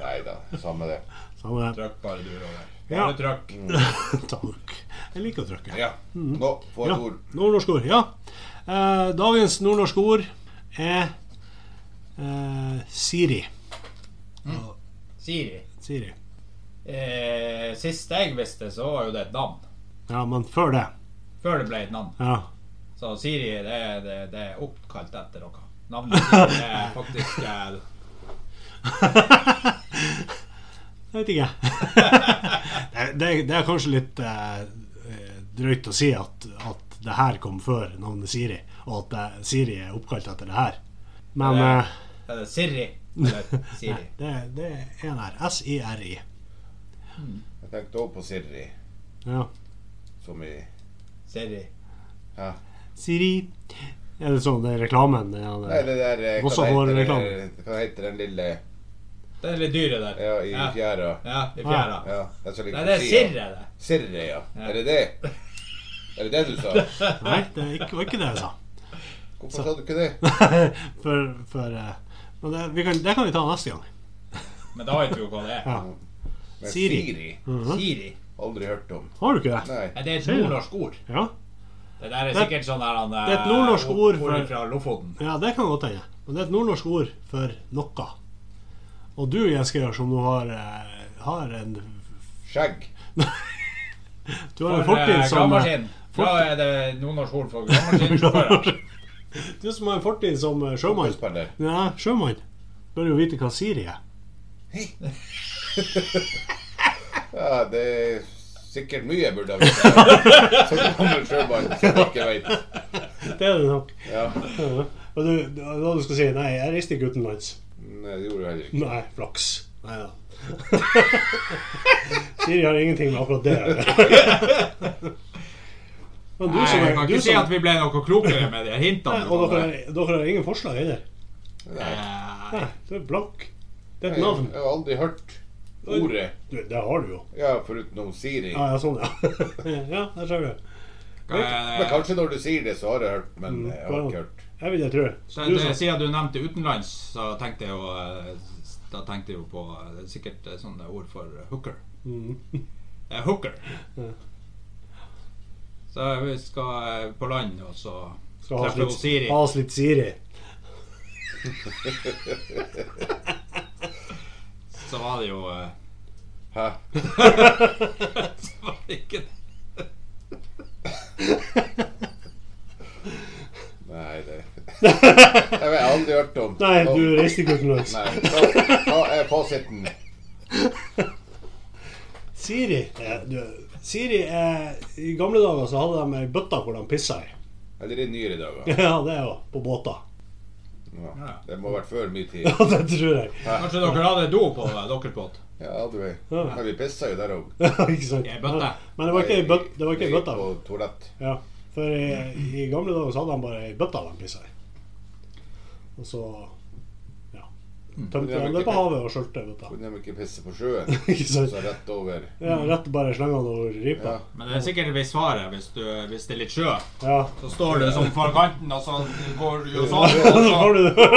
[SPEAKER 3] Nei da, samme det.
[SPEAKER 1] Samme det.
[SPEAKER 2] Trykk bare du, Roger.
[SPEAKER 1] Ja.
[SPEAKER 2] Bare trykk.
[SPEAKER 1] Takk. Jeg liker å trykke.
[SPEAKER 3] Ja. Nå, få
[SPEAKER 1] Ja,
[SPEAKER 3] et ord.
[SPEAKER 1] Nordnorsk ord. Ja. Eh, dagens nordnorske ord er eh, Siri.
[SPEAKER 2] Siri.
[SPEAKER 1] Siri.
[SPEAKER 2] Eh, sist jeg visste, så var jo det et navn.
[SPEAKER 1] Ja, men før det
[SPEAKER 2] Før det ble et navn.
[SPEAKER 1] ja.
[SPEAKER 2] Så Siri, det, er- det, det er oppkalt etter noe. Navnet Siri er faktisk eh,
[SPEAKER 1] Jeg vet ikke. det, det, det er kanskje litt eh, eh, drøyt å si at, at det her kom før navnet Siri, og at eh, Siri er oppkalt etter det her. Men
[SPEAKER 2] Ja,
[SPEAKER 1] eh,
[SPEAKER 2] Er det Siri? Eller Siri?
[SPEAKER 1] nei, det, det er en her. S-I-R-I.
[SPEAKER 3] Jeg tenkte òg på Siri,
[SPEAKER 1] Ja.
[SPEAKER 3] som i
[SPEAKER 2] Siri.
[SPEAKER 3] ja.
[SPEAKER 1] Siri. Er det sånn det er reklamen? Det er,
[SPEAKER 3] Nei, det der eh,
[SPEAKER 1] Også
[SPEAKER 3] Hva
[SPEAKER 1] for
[SPEAKER 3] heter
[SPEAKER 1] reklame.
[SPEAKER 3] det- hva heter den lille
[SPEAKER 2] Det er litt dyre der.
[SPEAKER 3] Ja, i
[SPEAKER 2] ja.
[SPEAKER 3] fjæra.
[SPEAKER 2] ja, i fjæra.
[SPEAKER 3] Ja, jeg skal
[SPEAKER 2] Nei, det er Siri, det.
[SPEAKER 3] Sirre, ja.
[SPEAKER 2] Ja.
[SPEAKER 3] Er det det? Er det det du
[SPEAKER 2] *laughs*
[SPEAKER 3] sa?
[SPEAKER 1] Nei, det er ikke, var ikke det jeg sa. *laughs*
[SPEAKER 3] Hvorfor sa du ikke det?
[SPEAKER 1] for for eh, men det, vi kan, det kan vi ta neste gang.
[SPEAKER 2] Men da vet vi jo hva det er.
[SPEAKER 1] Ja.
[SPEAKER 3] Men
[SPEAKER 1] Siri.
[SPEAKER 3] Siri.
[SPEAKER 1] Mhm.
[SPEAKER 2] Siri.
[SPEAKER 3] Aldri hørt om.
[SPEAKER 1] Har du ikke det?
[SPEAKER 3] Nei.
[SPEAKER 2] Mm-hmm. Nei, det er et nordnorsk ord.
[SPEAKER 1] Ja,
[SPEAKER 2] Det der er
[SPEAKER 1] Det-
[SPEAKER 2] sikkert sånn der han
[SPEAKER 1] det er et nordnorsk ord for-
[SPEAKER 2] fra Lofoten.
[SPEAKER 1] ja det kan godt hende. Men det er et nordnorsk ord for noe. Og du, Jens Geir, som nå har, eh, har en
[SPEAKER 3] Skjegg.
[SPEAKER 1] Du har en
[SPEAKER 2] For, eh,
[SPEAKER 1] fortid som eh,
[SPEAKER 2] gravemaskin. Da er det nordnorsk ord for gravemaskin.
[SPEAKER 1] *laughs* Du som har en fortid som eh, sjømann.
[SPEAKER 3] Fotballspiller.
[SPEAKER 1] Ja, sjømann. Bør jo vite hva Siri er. *laughs*
[SPEAKER 3] Ja, det er sikkert mye jeg burde ha
[SPEAKER 2] *laughs*
[SPEAKER 3] visst. Så kommer sjømannen som ikke vet.
[SPEAKER 1] Det er det nok. *laughs*
[SPEAKER 3] Ja.
[SPEAKER 1] Ja. Og du, du- da du skal si nei, jeg reiste ikke utenlands.
[SPEAKER 3] Nei, det gjorde jeg heller ikke.
[SPEAKER 1] Nei, flaks. Nei da. *laughs* Siri har ingenting med akkurat det å gjøre. *laughs* Men du
[SPEAKER 2] Nei,
[SPEAKER 1] som
[SPEAKER 2] jeg
[SPEAKER 1] er
[SPEAKER 2] kan
[SPEAKER 1] du
[SPEAKER 2] ikke si
[SPEAKER 1] som-
[SPEAKER 2] at vi ble noe klokere med de
[SPEAKER 1] Nei,
[SPEAKER 2] hintene. Eh,
[SPEAKER 1] Og dere, dere har ingen forslag heller?
[SPEAKER 3] Nei.
[SPEAKER 2] Nei.
[SPEAKER 1] Nei, du er blank. Det er et
[SPEAKER 3] Jeg
[SPEAKER 1] navn.
[SPEAKER 3] jeg har aldri hørt ordet.
[SPEAKER 1] Du, det har du jo.
[SPEAKER 3] Ja, foruten om Siri.
[SPEAKER 1] Ja, *laughs* ja sånn,
[SPEAKER 3] *laughs*
[SPEAKER 1] ja. ja, der ser du.
[SPEAKER 3] Men
[SPEAKER 2] Hva-
[SPEAKER 3] kanskje når du sier det, så har jeg hørt,
[SPEAKER 1] Mm,
[SPEAKER 3] men jeg har ikke hørt. *laughs*
[SPEAKER 1] Jeg vil det tro.
[SPEAKER 2] Så
[SPEAKER 1] Du
[SPEAKER 2] det-
[SPEAKER 1] som-
[SPEAKER 2] Siden du nevnte utenlands, så tenkte jeg jo eh, Da tenkte jeg jo på eh, sikkert eh, sånne ord for eh, hooker.
[SPEAKER 1] Mm.
[SPEAKER 2] *laughs* Eh, hooker. Så vi skal eh, på land, og så
[SPEAKER 1] Skal ha oss
[SPEAKER 2] treffer hun
[SPEAKER 1] litt,
[SPEAKER 2] Siri.
[SPEAKER 1] ha oss litt Siri.
[SPEAKER 2] Så var det jo eh, *laughs*
[SPEAKER 3] Hæ?
[SPEAKER 2] Så var det ikke det.
[SPEAKER 3] Nei, det
[SPEAKER 1] *laughs*
[SPEAKER 3] Jeg har aldri hørt om.
[SPEAKER 1] Nei,
[SPEAKER 3] Om-
[SPEAKER 1] du reiste ikke utenlands.
[SPEAKER 3] *laughs* Nei. Hva hva er fasiten?
[SPEAKER 1] Siri eh, du, Siri eh, I gamle dager så hadde de ei bøtte hvor de pissa i. *laughs*
[SPEAKER 3] Eller i nyere dager?
[SPEAKER 1] Ja, det er jo på båter. *laughs*
[SPEAKER 3] Ja. Det må ha vært før min tid.
[SPEAKER 1] Ja, det tror jeg. *laughs*
[SPEAKER 2] Kanskje dere hadde do på eh, deres båt?
[SPEAKER 3] Ja, du vet. Men vi pissa jo der òg.
[SPEAKER 1] Ja, ikke sant?
[SPEAKER 2] I en bøtte.
[SPEAKER 1] Men det var ikke ei bøt- det var ikke ei bøtte.
[SPEAKER 3] På toalett.
[SPEAKER 1] Ja, for i, i gamle dager så hadde de bare ei bøtte de pissa i. Og så ja.
[SPEAKER 3] Mm. Det
[SPEAKER 1] Tømte
[SPEAKER 3] er
[SPEAKER 1] de
[SPEAKER 3] vel
[SPEAKER 1] det
[SPEAKER 3] ikke-
[SPEAKER 1] på havet og skjølte bøtta.
[SPEAKER 3] Kunne de ikke pisse på
[SPEAKER 1] *laughs*
[SPEAKER 3] sjøen?
[SPEAKER 1] Ikke sant?
[SPEAKER 3] Så rett over.
[SPEAKER 1] Ja, rett bare slenga den over ripa.
[SPEAKER 3] Ja.
[SPEAKER 2] Men det er sikkert visst svaret hvis, du, hvis det er litt sjø.
[SPEAKER 3] *laughs*
[SPEAKER 1] Ja.
[SPEAKER 2] Så står du som for kanten, og så går du jo sånn.
[SPEAKER 1] Så får
[SPEAKER 2] Og så.
[SPEAKER 3] *laughs*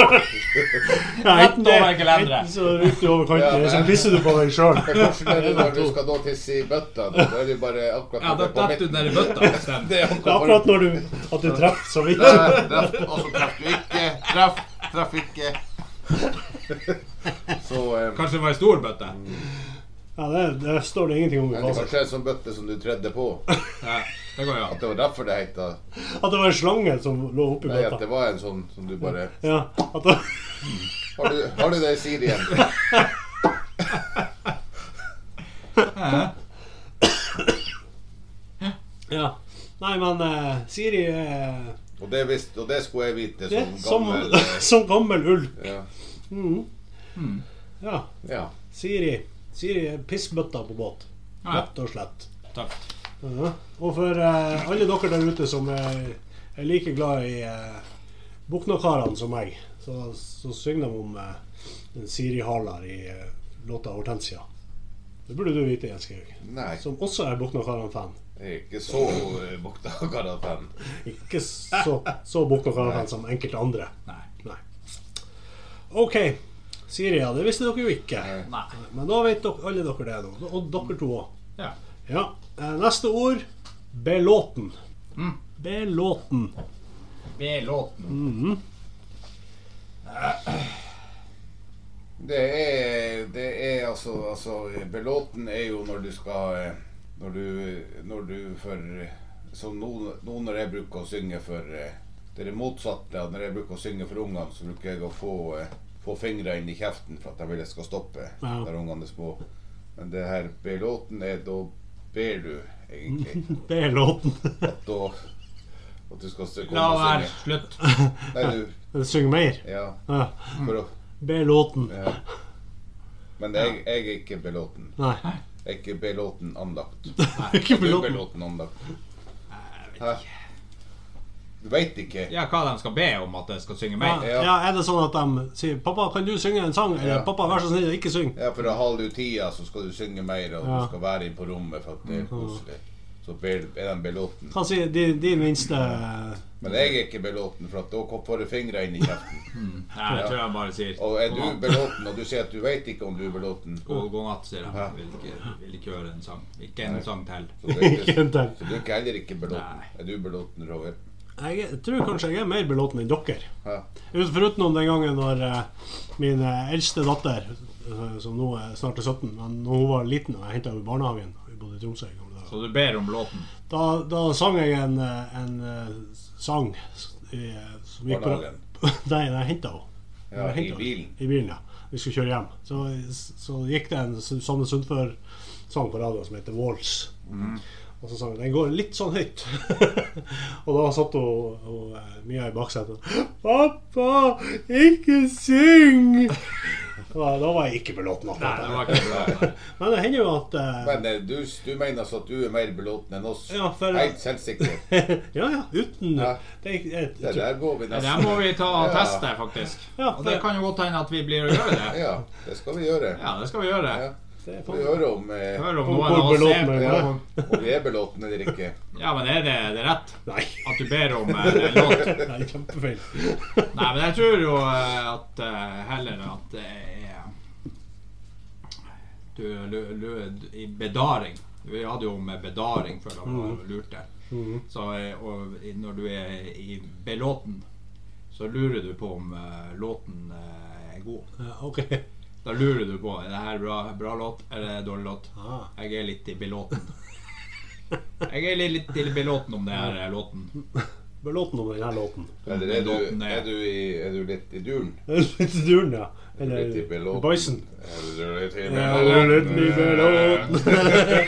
[SPEAKER 1] du det. Ja,
[SPEAKER 2] Rett
[SPEAKER 1] enten det-
[SPEAKER 2] over gelenderet.
[SPEAKER 1] enten så ruter du over kanten,
[SPEAKER 3] Ja,
[SPEAKER 1] eller så
[SPEAKER 3] men-
[SPEAKER 1] pisser du på deg
[SPEAKER 3] *laughs*
[SPEAKER 1] sjøl.
[SPEAKER 3] Men Hvordan er det når du skal da tisse i bøtta? Da Da er det bare akkurat
[SPEAKER 2] Ja, da
[SPEAKER 3] på
[SPEAKER 2] detter du
[SPEAKER 3] midten.
[SPEAKER 2] ned i bøtta. Sten.
[SPEAKER 1] Det
[SPEAKER 3] Det er
[SPEAKER 1] er
[SPEAKER 3] akkurat
[SPEAKER 1] akkurat når du, at du treffer så vidt.
[SPEAKER 3] Der, treff, og så treff altså, du ikke. Treff, treff ikke. *laughs* Så eh,
[SPEAKER 2] Kanskje det var ei stor bøtte.
[SPEAKER 1] Ja, det, det står det ingenting om i
[SPEAKER 3] men det
[SPEAKER 1] fasit.
[SPEAKER 3] kanskje er en sånn bøtte som du tredde på.
[SPEAKER 2] Ja, det går jo
[SPEAKER 3] At
[SPEAKER 2] an.
[SPEAKER 3] det var derfor det heita
[SPEAKER 1] At det var en slange som lå oppi
[SPEAKER 3] Nei, at det
[SPEAKER 1] bøtta.
[SPEAKER 3] var en sånn som du bare
[SPEAKER 1] Ja, at det,
[SPEAKER 3] Har du, har du det i Siri igjen?
[SPEAKER 1] ja. Nei, men eh, Siri er
[SPEAKER 3] Og det, visste, og det skulle jeg vite
[SPEAKER 1] Det,
[SPEAKER 3] som
[SPEAKER 1] som, *laughs*
[SPEAKER 3] gammel eh, Hmm.
[SPEAKER 1] som gammel ulv.
[SPEAKER 3] ja.
[SPEAKER 1] Mm. Ja.
[SPEAKER 3] ja.
[SPEAKER 1] Siri. Siri er pissbøtta på båt.
[SPEAKER 2] Ja.
[SPEAKER 1] Rett og slett.
[SPEAKER 2] Tøft.
[SPEAKER 1] Ja. Og for eh, alle dere der ute som er, er like glad i eh, Buknakarene som meg, så, så synger de om eh, en Siri Harlar i eh, låta 'Hortensia'. Det burde du vite, Jens Georg,
[SPEAKER 3] Nei,
[SPEAKER 1] som også er Buknakarene-fan.
[SPEAKER 3] jeg er ikke så eh, Bukta-Karat-fan.
[SPEAKER 1] Ikke så, så Buknakarene-fan som enkelte andre.
[SPEAKER 2] Nei.
[SPEAKER 1] Nei. OK. Siri, ja, det visste dere jo ikke.
[SPEAKER 3] Nei.
[SPEAKER 2] Nei.
[SPEAKER 1] Men da vet dere, alle dere det nå. Og dere to òg.
[SPEAKER 2] Ja.
[SPEAKER 1] Ja. eh, Neste ord belåten.
[SPEAKER 2] Mm.
[SPEAKER 1] Belåten.
[SPEAKER 2] Med låten.
[SPEAKER 3] Det er, det er altså, altså Belåten er jo når du skal eh, Når du, når du for eh, Som nå, nå når jeg bruker å synge for eh, Det er det motsatte av når jeg bruker å synge for ungene, så bruker jeg å få, eh, få fingrene inn i kjeften for at de vil jeg skal stoppe
[SPEAKER 1] Ja.
[SPEAKER 3] når ungene er små. Men det her belåten er da ber du, egentlig.
[SPEAKER 1] Belåten. *laughs*
[SPEAKER 3] At da At du skal stå- komme
[SPEAKER 2] La
[SPEAKER 3] og
[SPEAKER 2] være.
[SPEAKER 3] synge.
[SPEAKER 2] Slutt.
[SPEAKER 3] Nei, du
[SPEAKER 1] Syng mer.
[SPEAKER 3] Ja.
[SPEAKER 1] Ja.
[SPEAKER 3] For å
[SPEAKER 1] Belåten.
[SPEAKER 3] ja. Men jeg, jeg er ikke belåten.
[SPEAKER 1] Nei. *laughs*
[SPEAKER 3] Er ikke belåten anlagt?
[SPEAKER 1] Ikke
[SPEAKER 3] Du er
[SPEAKER 1] belåten.
[SPEAKER 3] belåten anlagt. Hæ? Du veit ikke?
[SPEAKER 2] Ja, hva de skal be om at jeg skal synge
[SPEAKER 1] Ja,
[SPEAKER 2] mer?
[SPEAKER 3] Ja.
[SPEAKER 1] ja, er det sånn at de sier 'Pappa, kan du synge en sang?' Eller
[SPEAKER 3] Ja.
[SPEAKER 1] 'Pappa, vær så snill, ikke syng'.
[SPEAKER 3] Ja, for da holder du tida, så skal du synge mer, og
[SPEAKER 1] Ja.
[SPEAKER 3] du skal være inne på rommet for at det er koselig. Så ber- er den belåten.
[SPEAKER 1] Kan si de, de minste
[SPEAKER 3] Men jeg er ikke belåten, for at da kom- får du fingra inn i kjeften.
[SPEAKER 2] Nei, jeg tror jeg bare sier
[SPEAKER 3] Og er du belåten, og du sier at du veit ikke om du er belåten, så
[SPEAKER 2] god, god natt, sier jeg. Vil ikke, vil ikke høre en sang. Ikke en sang til.
[SPEAKER 3] du
[SPEAKER 1] *laughs*
[SPEAKER 3] er
[SPEAKER 1] Ikke
[SPEAKER 3] ikke,
[SPEAKER 1] en til.
[SPEAKER 3] så du er ikke heller ikke belåten.
[SPEAKER 2] Nei.
[SPEAKER 3] Er du belåten, Roger?
[SPEAKER 1] Jeg er- tror kanskje jeg er mer belåten enn dere.
[SPEAKER 3] Hæ?
[SPEAKER 1] Ut- Foruten om den gangen når eh, min eh, eldste datter, eh, som nå er snart er 17, men når hun var liten og jeg henta henne i barnehagen Vi bodde i Tromsø i gamle dager.
[SPEAKER 2] Så du ber om låten.
[SPEAKER 1] Da, da sang jeg en, eh, en eh, sang s- i, eh, som gikk på
[SPEAKER 3] Barnehagen?
[SPEAKER 1] *laughs* Nei, da jeg henta henne.
[SPEAKER 3] Ja,
[SPEAKER 1] Jeg hentet
[SPEAKER 3] i
[SPEAKER 1] henne.
[SPEAKER 3] bilen.
[SPEAKER 1] I bilen, ja. Vi skulle kjøre hjem. Så, så gikk det en S- Sanne Sundfør-sang på radioen som heter Walls.
[SPEAKER 3] Mhm.
[SPEAKER 1] Og så sang hun Den går litt sånn høyt. *laughs* og da satt hun, hun eh, Mia i baksetet. Pappa, ikke syng! da, da var jeg ikke belåten av
[SPEAKER 2] Nei, det
[SPEAKER 1] dette.
[SPEAKER 2] var ikke bra.
[SPEAKER 1] Men det hender jo at eh,
[SPEAKER 3] Men eh, du, du mener altså at du er mer belåten enn oss?
[SPEAKER 1] Ja, for-
[SPEAKER 3] Helt selvsikker.
[SPEAKER 1] *laughs* Ja, ja. Uten
[SPEAKER 3] Ja.
[SPEAKER 1] Det, er ikke- jeg,
[SPEAKER 2] *laughs*
[SPEAKER 3] Det
[SPEAKER 1] jeg, tror-
[SPEAKER 3] der går vi
[SPEAKER 2] Det
[SPEAKER 3] nesten
[SPEAKER 2] der må vi ta og
[SPEAKER 3] Ja.
[SPEAKER 2] teste, faktisk.
[SPEAKER 1] Ja,
[SPEAKER 2] Og det kan jo godt hende at vi blir å gjøre det.
[SPEAKER 3] Ja, det skal vi gjøre.
[SPEAKER 2] Ja, det skal vi gjøre.
[SPEAKER 3] Ja.
[SPEAKER 1] det er
[SPEAKER 3] Vi
[SPEAKER 1] faen-
[SPEAKER 3] hører om, eh,
[SPEAKER 2] Hør
[SPEAKER 1] Om
[SPEAKER 2] om noen av
[SPEAKER 1] hvor
[SPEAKER 2] oss
[SPEAKER 1] belåten
[SPEAKER 2] er
[SPEAKER 1] jeg
[SPEAKER 3] ja, om vi er belåtne eller ikke.
[SPEAKER 2] Ja, men er det, det er rett
[SPEAKER 1] Nei. *laughs*
[SPEAKER 2] at du ber om eh, en låt?
[SPEAKER 1] Det er kjempefeil.
[SPEAKER 2] Nei, men jeg tror jo eh, at eh, heller at det er Du lu- lu- i bedaring. Vi hadde jo med bedaring før da var det lurte. Så eh, og i- når du er i belåten, så lurer du på om eh, låten eh, er god.
[SPEAKER 1] Ja, OK.
[SPEAKER 2] Da lurer du på er det her bra, bra låt eller dårlig låt.
[SPEAKER 1] Ah.
[SPEAKER 2] Jeg er litt i belåten. Jeg er litt, litt i belåten om det her eh, låten.
[SPEAKER 1] Belåten om denne låten. *laughs*
[SPEAKER 3] Eller er
[SPEAKER 2] Belåten
[SPEAKER 3] du,
[SPEAKER 2] er-
[SPEAKER 3] er du, i, er du litt i duren?
[SPEAKER 1] Litt duren, ja.
[SPEAKER 3] Er du litt i
[SPEAKER 1] Eller
[SPEAKER 3] belåten?
[SPEAKER 1] Bison.
[SPEAKER 3] Er du litt i
[SPEAKER 1] Ja, det er litt i
[SPEAKER 3] belåten?
[SPEAKER 1] belåten.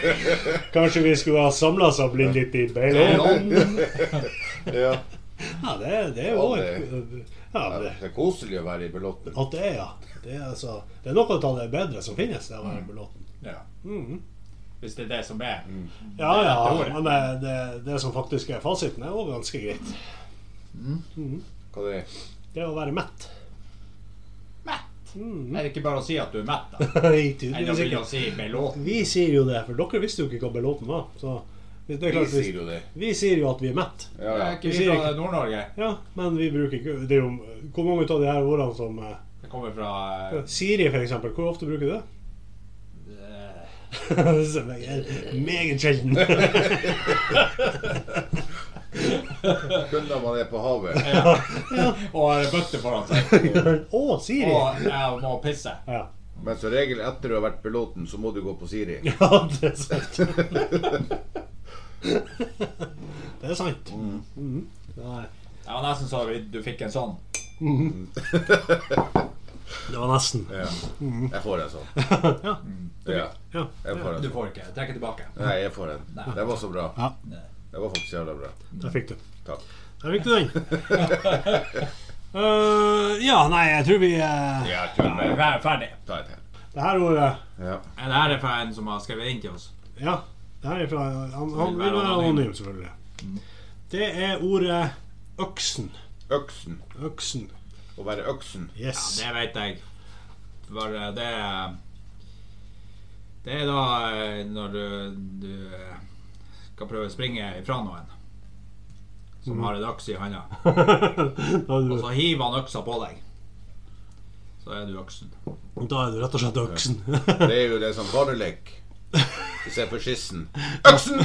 [SPEAKER 1] Kanskje vi skulle ha samla oss og blitt litt i belåten?
[SPEAKER 3] Ja.
[SPEAKER 1] Ja, det, er- det er jo et ja,
[SPEAKER 3] Ja,
[SPEAKER 1] det,
[SPEAKER 3] Det er koselig å være i belåten.
[SPEAKER 1] At det er, ja. Det er, altså, det er noe av det bedre som finnes, det å være belåten.
[SPEAKER 2] Ja.
[SPEAKER 1] Mhm.
[SPEAKER 2] Hvis det er det som er.
[SPEAKER 1] Ja ja, men det, det, det som faktisk er fasiten, er òg ganske greit.
[SPEAKER 3] Hva det er
[SPEAKER 1] Det er å være mett.
[SPEAKER 2] Mett.
[SPEAKER 1] Mhm.
[SPEAKER 2] Er det ikke bare å si at du er mett, *laughs* da?
[SPEAKER 1] Nei,
[SPEAKER 2] Eller
[SPEAKER 1] tydeligvis
[SPEAKER 2] vil jeg
[SPEAKER 1] ikke.
[SPEAKER 2] si belåten?
[SPEAKER 1] Vi sier jo det, for dere visste jo ikke hva belåten var. Så det er
[SPEAKER 3] Vi
[SPEAKER 1] klart,
[SPEAKER 3] sier
[SPEAKER 1] vi,
[SPEAKER 3] jo det.
[SPEAKER 1] vi sier jo at vi er mett.
[SPEAKER 3] Ja,
[SPEAKER 2] Er
[SPEAKER 3] ja.
[SPEAKER 2] ikke vi fra Nord-Norge?
[SPEAKER 1] Ja, men vi bruker ikke det er jo, Hvor mange av de her ordene som eh,
[SPEAKER 2] Jeg kommer fra
[SPEAKER 1] Siri, for eksempel. Hvor ofte bruker du det? *laughs*
[SPEAKER 2] eh,
[SPEAKER 1] Så jeg er Meget sjelden.
[SPEAKER 3] *laughs* Kun når man er på havet.
[SPEAKER 2] *laughs* Og har bøtte foran seg.
[SPEAKER 1] Å, Siri!
[SPEAKER 2] Og jeg må pisse.
[SPEAKER 1] Ja.
[SPEAKER 3] Men som regel etter du har vært belåten, så må du gå på Siri.
[SPEAKER 1] *laughs* ja, det er sant. *laughs* Det er sant.
[SPEAKER 3] Mm.
[SPEAKER 1] Mhm. Nei,
[SPEAKER 2] Jeg var nesten så vidt du fikk en sånn.
[SPEAKER 1] det var nesten.
[SPEAKER 3] Ja. Jeg får en sånn.
[SPEAKER 1] Mm. *laughs* Ja.
[SPEAKER 3] Ja,
[SPEAKER 1] Ja.
[SPEAKER 3] jeg
[SPEAKER 2] Du
[SPEAKER 3] får en sånn.
[SPEAKER 2] får ikke. Trekker tilbake.
[SPEAKER 3] Nei, jeg får en. Det var så bra.
[SPEAKER 1] Ja.
[SPEAKER 3] Det var faktisk jævla bra.
[SPEAKER 1] Der fikk du.
[SPEAKER 3] Takk.
[SPEAKER 1] Der fikk du
[SPEAKER 3] *laughs*
[SPEAKER 1] den. Eh, ja, nei, jeg tror vi eh,
[SPEAKER 3] Ja, kjør med.
[SPEAKER 2] Fer- Ferdig.
[SPEAKER 3] Ta et til.
[SPEAKER 1] Det her ordet
[SPEAKER 3] Ja.
[SPEAKER 2] Det her er fra en som har skrevet inn til oss.
[SPEAKER 1] Ja. Det her er fra Han, han
[SPEAKER 2] Vil
[SPEAKER 1] vil
[SPEAKER 2] være
[SPEAKER 1] være
[SPEAKER 2] anonym. Mm.
[SPEAKER 1] anonym, selvfølgelig. Det er ordet øksen.
[SPEAKER 3] Øksen.
[SPEAKER 1] Øksen.
[SPEAKER 3] Å være øksen.
[SPEAKER 1] Yes. *laughs*
[SPEAKER 2] Det vet jeg. Bare det Det er da eh, når du, du eh, skal prøve å springe ifra noen som har en øks i handa,
[SPEAKER 1] da, er
[SPEAKER 2] og
[SPEAKER 1] du,
[SPEAKER 2] så hiver han øksa på deg. Så er du øksen.
[SPEAKER 1] da er du rett og slett øksen.
[SPEAKER 3] Det er jo det som barelek. Hvis jeg får skissen. Øksen!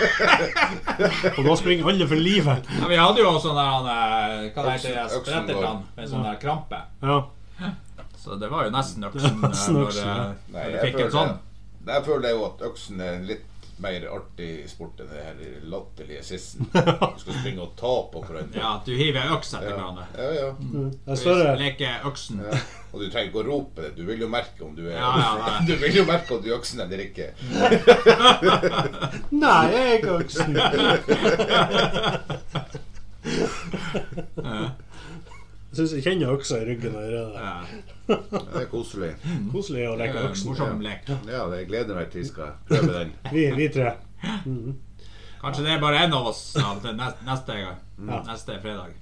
[SPEAKER 1] *laughs* og da springer alle for livet.
[SPEAKER 2] Ja, vi hadde jo sånn der han eh, Hva det heter det?
[SPEAKER 3] Øksen- øksen går.
[SPEAKER 2] Sprettertann med sånn der krampe.
[SPEAKER 1] Ja.
[SPEAKER 2] Så det var jo nesten øksen eh,
[SPEAKER 1] nesten
[SPEAKER 2] når,
[SPEAKER 1] øksen,
[SPEAKER 2] eh,
[SPEAKER 1] ja.
[SPEAKER 3] Nei,
[SPEAKER 2] når du
[SPEAKER 3] jeg
[SPEAKER 2] fikk en
[SPEAKER 3] føler,
[SPEAKER 2] sånn.
[SPEAKER 3] jeg føler jo at øksen er en litt mer artig sport enn det her latterlige skissen. Du skal springe og ta på hverandre.
[SPEAKER 2] Ja, at du hiver øks etter hverandre.
[SPEAKER 3] Ja, ja.
[SPEAKER 1] Det er
[SPEAKER 2] Hvis
[SPEAKER 1] større.
[SPEAKER 2] leker øksen.
[SPEAKER 3] ja. Og du trenger ikke å rope det. Du vil jo merke om du er
[SPEAKER 2] Ja, ja, Mm. nei.
[SPEAKER 3] *laughs* Du vil jo merke om du er øksen eller ikke.
[SPEAKER 1] Nei, jeg er ikke øksen. Jeg syns jeg kjenner øksa i ryggen allerede.
[SPEAKER 2] Ja.
[SPEAKER 3] Ja, Det er koselig.
[SPEAKER 1] Koselig å
[SPEAKER 2] Eh, Det er
[SPEAKER 1] leke
[SPEAKER 2] jo en
[SPEAKER 1] øksen.
[SPEAKER 2] morsom lek.
[SPEAKER 3] Ja, det gleder meg til jeg skal prøve den.
[SPEAKER 1] Vi, vi tre.
[SPEAKER 2] Kanskje det er bare en av oss ja, til nes- neste gang.
[SPEAKER 1] Ja.
[SPEAKER 2] Neste fredag.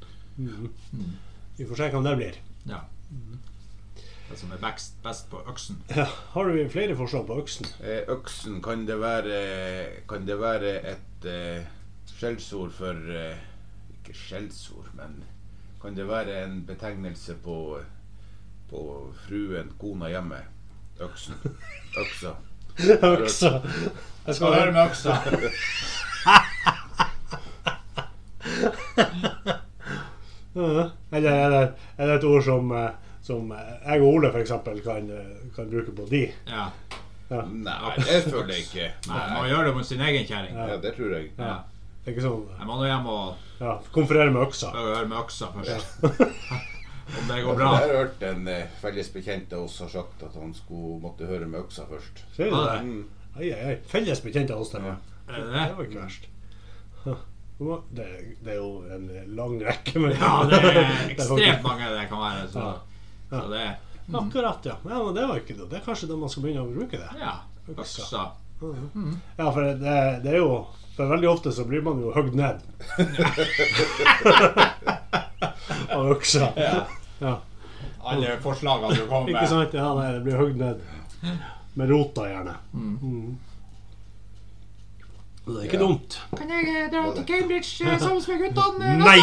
[SPEAKER 1] Vi får se hva det blir.
[SPEAKER 2] Ja. Det som er best, best på øksen.
[SPEAKER 1] Ja. Har du flere forslag på
[SPEAKER 2] *laughs*
[SPEAKER 1] øksen?
[SPEAKER 3] Eh, Øksen, kan det være Kan det være et eh, skjellsord for eh, Ikke skjellsord, men Kan det være en betegnelse på På fruen, kona hjemme? Øksen. Øksa.
[SPEAKER 1] Øksa. Jeg skal høre
[SPEAKER 2] med øksa.
[SPEAKER 1] Ja, Eller er det, er det et ord som, eh, som eh, jeg og Ole f.eks. Kan, eh, kan bruke på de?
[SPEAKER 2] Ja.
[SPEAKER 3] *laughs* Nei, det føler jeg ikke.
[SPEAKER 2] Man
[SPEAKER 3] Nei.
[SPEAKER 2] må gjøre det mot sin egen kjerring.
[SPEAKER 3] Ja, det tror jeg.
[SPEAKER 2] Ja.
[SPEAKER 1] Det er ikke sånn eh,
[SPEAKER 2] Jeg må nå hjem og
[SPEAKER 1] ja, konferere med øksa.
[SPEAKER 2] høre med øksa først. *laughs* Om det går
[SPEAKER 3] Jeg
[SPEAKER 2] bra.
[SPEAKER 3] har hørt en eh, felles bekjent av oss har sagt at han skulle måtte høre med øksa først.
[SPEAKER 1] Ser du
[SPEAKER 2] Ja,
[SPEAKER 1] det?
[SPEAKER 2] det.
[SPEAKER 3] Mm.
[SPEAKER 1] Ai, ai, ai. Felles bekjent av oss, det.
[SPEAKER 3] Ja.
[SPEAKER 1] var-
[SPEAKER 2] Er det
[SPEAKER 1] Det
[SPEAKER 2] det?
[SPEAKER 1] var ikke verst. Huh. Nå må- Det, det er jo en lang rekke med
[SPEAKER 2] Ja,
[SPEAKER 1] *laughs*
[SPEAKER 2] det er
[SPEAKER 1] Det faktisk-
[SPEAKER 2] ekstremt mange det kan være. Så, så det
[SPEAKER 1] Akkurat, ja. ja men det var ikke noe. Det er kanskje da man skal begynne å bruke det.
[SPEAKER 2] Ja. Øksa.
[SPEAKER 1] Ja, for det, det er jo For veldig ofte så blir man jo høgd
[SPEAKER 2] *laughs*
[SPEAKER 1] ned. *laughs* Av øksa. Ja.
[SPEAKER 2] Alle forslagene du kommer
[SPEAKER 1] Ikke
[SPEAKER 2] med.
[SPEAKER 1] sant? Ja, nei, det blir høgd ned. Med rota, gjerne. Mm. Det er ikke dumt.
[SPEAKER 2] Kan jeg dra til Cambridge sammen med guttene?
[SPEAKER 1] Nei!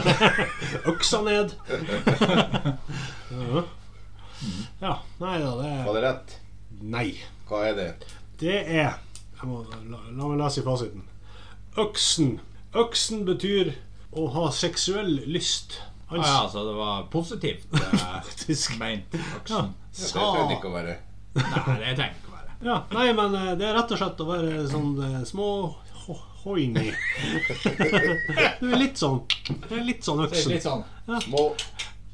[SPEAKER 1] *laughs* Øksa ned. Ja. *laughs* ja. Nei da, det er
[SPEAKER 3] Var det rett?
[SPEAKER 1] Nei.
[SPEAKER 3] Hva er det?
[SPEAKER 1] Det er jeg må, la, la meg lese i fasiten. Øksen. Øksen betyr å ha seksuell lyst. Han
[SPEAKER 2] Ah, ja, så det var positivt eh, meint. Øksen.
[SPEAKER 3] Det
[SPEAKER 1] sa
[SPEAKER 3] trenger ikke å være
[SPEAKER 2] Nei, det trenger ikke å være.
[SPEAKER 1] ja, Nei, men eh, det er rett og slett å være sånn eh, små ho-
[SPEAKER 2] *laughs*
[SPEAKER 1] hoiny. Du er litt sånn Du er litt sånn
[SPEAKER 2] Det er
[SPEAKER 1] øksen.
[SPEAKER 2] litt sånn
[SPEAKER 3] små,
[SPEAKER 1] Jeg,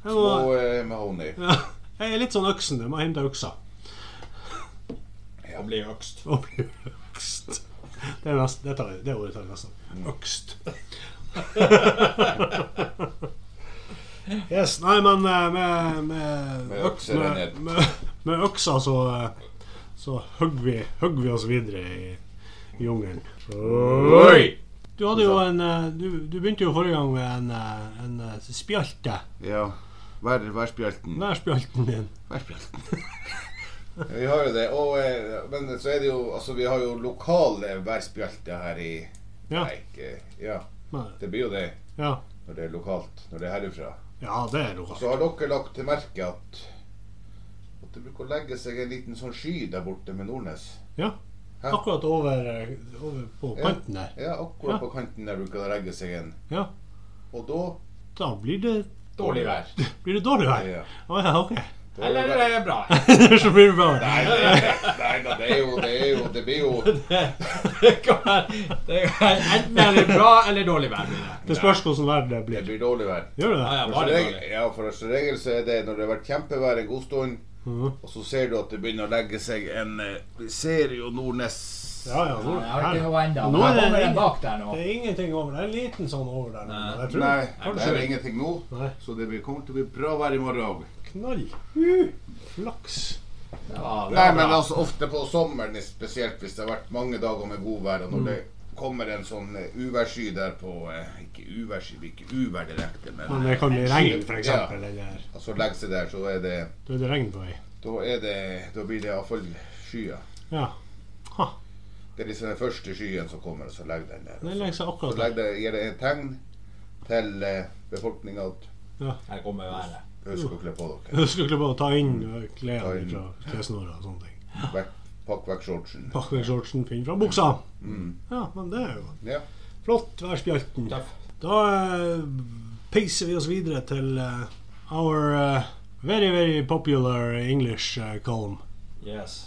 [SPEAKER 3] små
[SPEAKER 1] må,
[SPEAKER 3] eh, mahoney.
[SPEAKER 1] ja, jeg er litt sånn øksen. Jeg må hente øksa.
[SPEAKER 2] å bli økst.
[SPEAKER 1] Og bli økst. Det, er nest, det, tar, vi- det ordet tar vi
[SPEAKER 2] Mm.
[SPEAKER 1] nesten. Økst. Yes, nei, men eh, med, med,
[SPEAKER 3] Med økser er
[SPEAKER 1] med,
[SPEAKER 3] ned.
[SPEAKER 1] med, med øksa så, eh, så hogg vi, hogg vi oss videre i jungelen.
[SPEAKER 2] Mm. Oi!
[SPEAKER 1] Du, hadde jo en, eh, du, du begynte jo forrige gang med en, eh, en eh, spjalte.
[SPEAKER 3] Ja. Vær, værspjelten.
[SPEAKER 1] Hva er spjalten din?
[SPEAKER 3] Værspjelten. *laughs* vi har jo det. Og, eh, men så er det jo Altså, vi har jo lokale værspjelter her i
[SPEAKER 1] Ja.
[SPEAKER 3] Nei, ikke Ja.
[SPEAKER 1] Nei.
[SPEAKER 3] Det blir jo det
[SPEAKER 1] Ja.
[SPEAKER 3] når det er lokalt. Når det er herifra.
[SPEAKER 1] ja, det er lokalt.
[SPEAKER 3] Så har dere lagt til merke at at det bruker å legge seg en liten sånn sky der borte med Nordnes.
[SPEAKER 1] Ja.
[SPEAKER 3] Hæ?
[SPEAKER 1] Akkurat over, eh, over på
[SPEAKER 3] Ja.
[SPEAKER 1] kanten der.
[SPEAKER 3] Ja, akkurat
[SPEAKER 1] Ja.
[SPEAKER 3] på kanten der bruker det å legge seg en.
[SPEAKER 1] Ja.
[SPEAKER 3] Og da
[SPEAKER 1] Da blir det
[SPEAKER 2] Dårlig vær.
[SPEAKER 1] Blir det dårlig vær?
[SPEAKER 3] Ja.
[SPEAKER 1] Å ja, ok. *laughs*
[SPEAKER 3] da er det
[SPEAKER 2] Eller
[SPEAKER 3] vær-
[SPEAKER 2] er det bra? *laughs*
[SPEAKER 1] så blir det bra.
[SPEAKER 3] Nei, nei, nei, nei, det er jo Det er jo Det blir jo
[SPEAKER 2] Det kan være det kan være enten er det bra eller dårlig vær. blir det.
[SPEAKER 1] Det spørs hvordan vær det
[SPEAKER 3] Det
[SPEAKER 1] blir.
[SPEAKER 3] blir dårlig vær.
[SPEAKER 1] Gjør det det?
[SPEAKER 2] Ja, ja,
[SPEAKER 3] For
[SPEAKER 2] bare
[SPEAKER 3] som regel,
[SPEAKER 2] dårlig.
[SPEAKER 3] ja, for som regel så er det når det har vært kjempevær en god stund,
[SPEAKER 1] Mhm.
[SPEAKER 3] og så ser du at det begynner å legge seg en eh, Vi ser jo Nordnes
[SPEAKER 1] Ja, ja, nå,
[SPEAKER 4] Jeg har
[SPEAKER 1] her.
[SPEAKER 4] ikke noe ennå.
[SPEAKER 1] Nå er
[SPEAKER 4] Her
[SPEAKER 1] det
[SPEAKER 4] kommer den
[SPEAKER 1] ingen-
[SPEAKER 4] bak der nå.
[SPEAKER 1] Det er ingenting over. Det er en liten sånn over der. nå,
[SPEAKER 2] Nei.
[SPEAKER 1] men Jeg tror
[SPEAKER 3] Nei, det
[SPEAKER 1] kanskje
[SPEAKER 3] er ingenting nå,
[SPEAKER 1] Nei.
[SPEAKER 3] så det blir- kommer til å bli bra vær i morgen òg.
[SPEAKER 1] knall. Uh, flaks.
[SPEAKER 4] Ja, det
[SPEAKER 3] Nei,
[SPEAKER 4] var
[SPEAKER 3] men
[SPEAKER 4] bra.
[SPEAKER 3] altså ofte på sommeren, spesielt hvis det har vært mange dager med god vær, og
[SPEAKER 1] Mm.
[SPEAKER 3] når det kommer en sånn eh, uværssky der på eh, Ikke uværssky, det blir ikke uvær direkte, men
[SPEAKER 1] Men det kan bli regn, for eksempel. Eller
[SPEAKER 3] altså legger seg der, så er det
[SPEAKER 1] da er det regn på vei.
[SPEAKER 3] Da, er det, da blir det iallfall skyer.
[SPEAKER 1] Ja. Ha.
[SPEAKER 3] Det er liksom den første skyen som kommer, og så legger den der.
[SPEAKER 1] Den legger seg
[SPEAKER 3] Så
[SPEAKER 1] akkurat der.
[SPEAKER 3] legger er det, gir det et tegn til befolkninga at
[SPEAKER 2] Her kommer været.
[SPEAKER 3] husk å kle på dere.
[SPEAKER 1] Du skulle bare ta inn eh,
[SPEAKER 3] Ta
[SPEAKER 1] klærne
[SPEAKER 3] inn.
[SPEAKER 1] fra klessnora og sånne ting.
[SPEAKER 2] Uh.
[SPEAKER 3] Vekk, pakk vekk shortsen.
[SPEAKER 1] Pakk vekk shortsen, finn fram buksa.
[SPEAKER 3] Mm.
[SPEAKER 1] Ja, men det er jo
[SPEAKER 3] Ja.
[SPEAKER 1] flott, værspjalten.
[SPEAKER 2] Tøff.
[SPEAKER 1] Da eh, peiser vi oss videre til eh, our eh, very, very popular English eh, column.
[SPEAKER 2] Yes.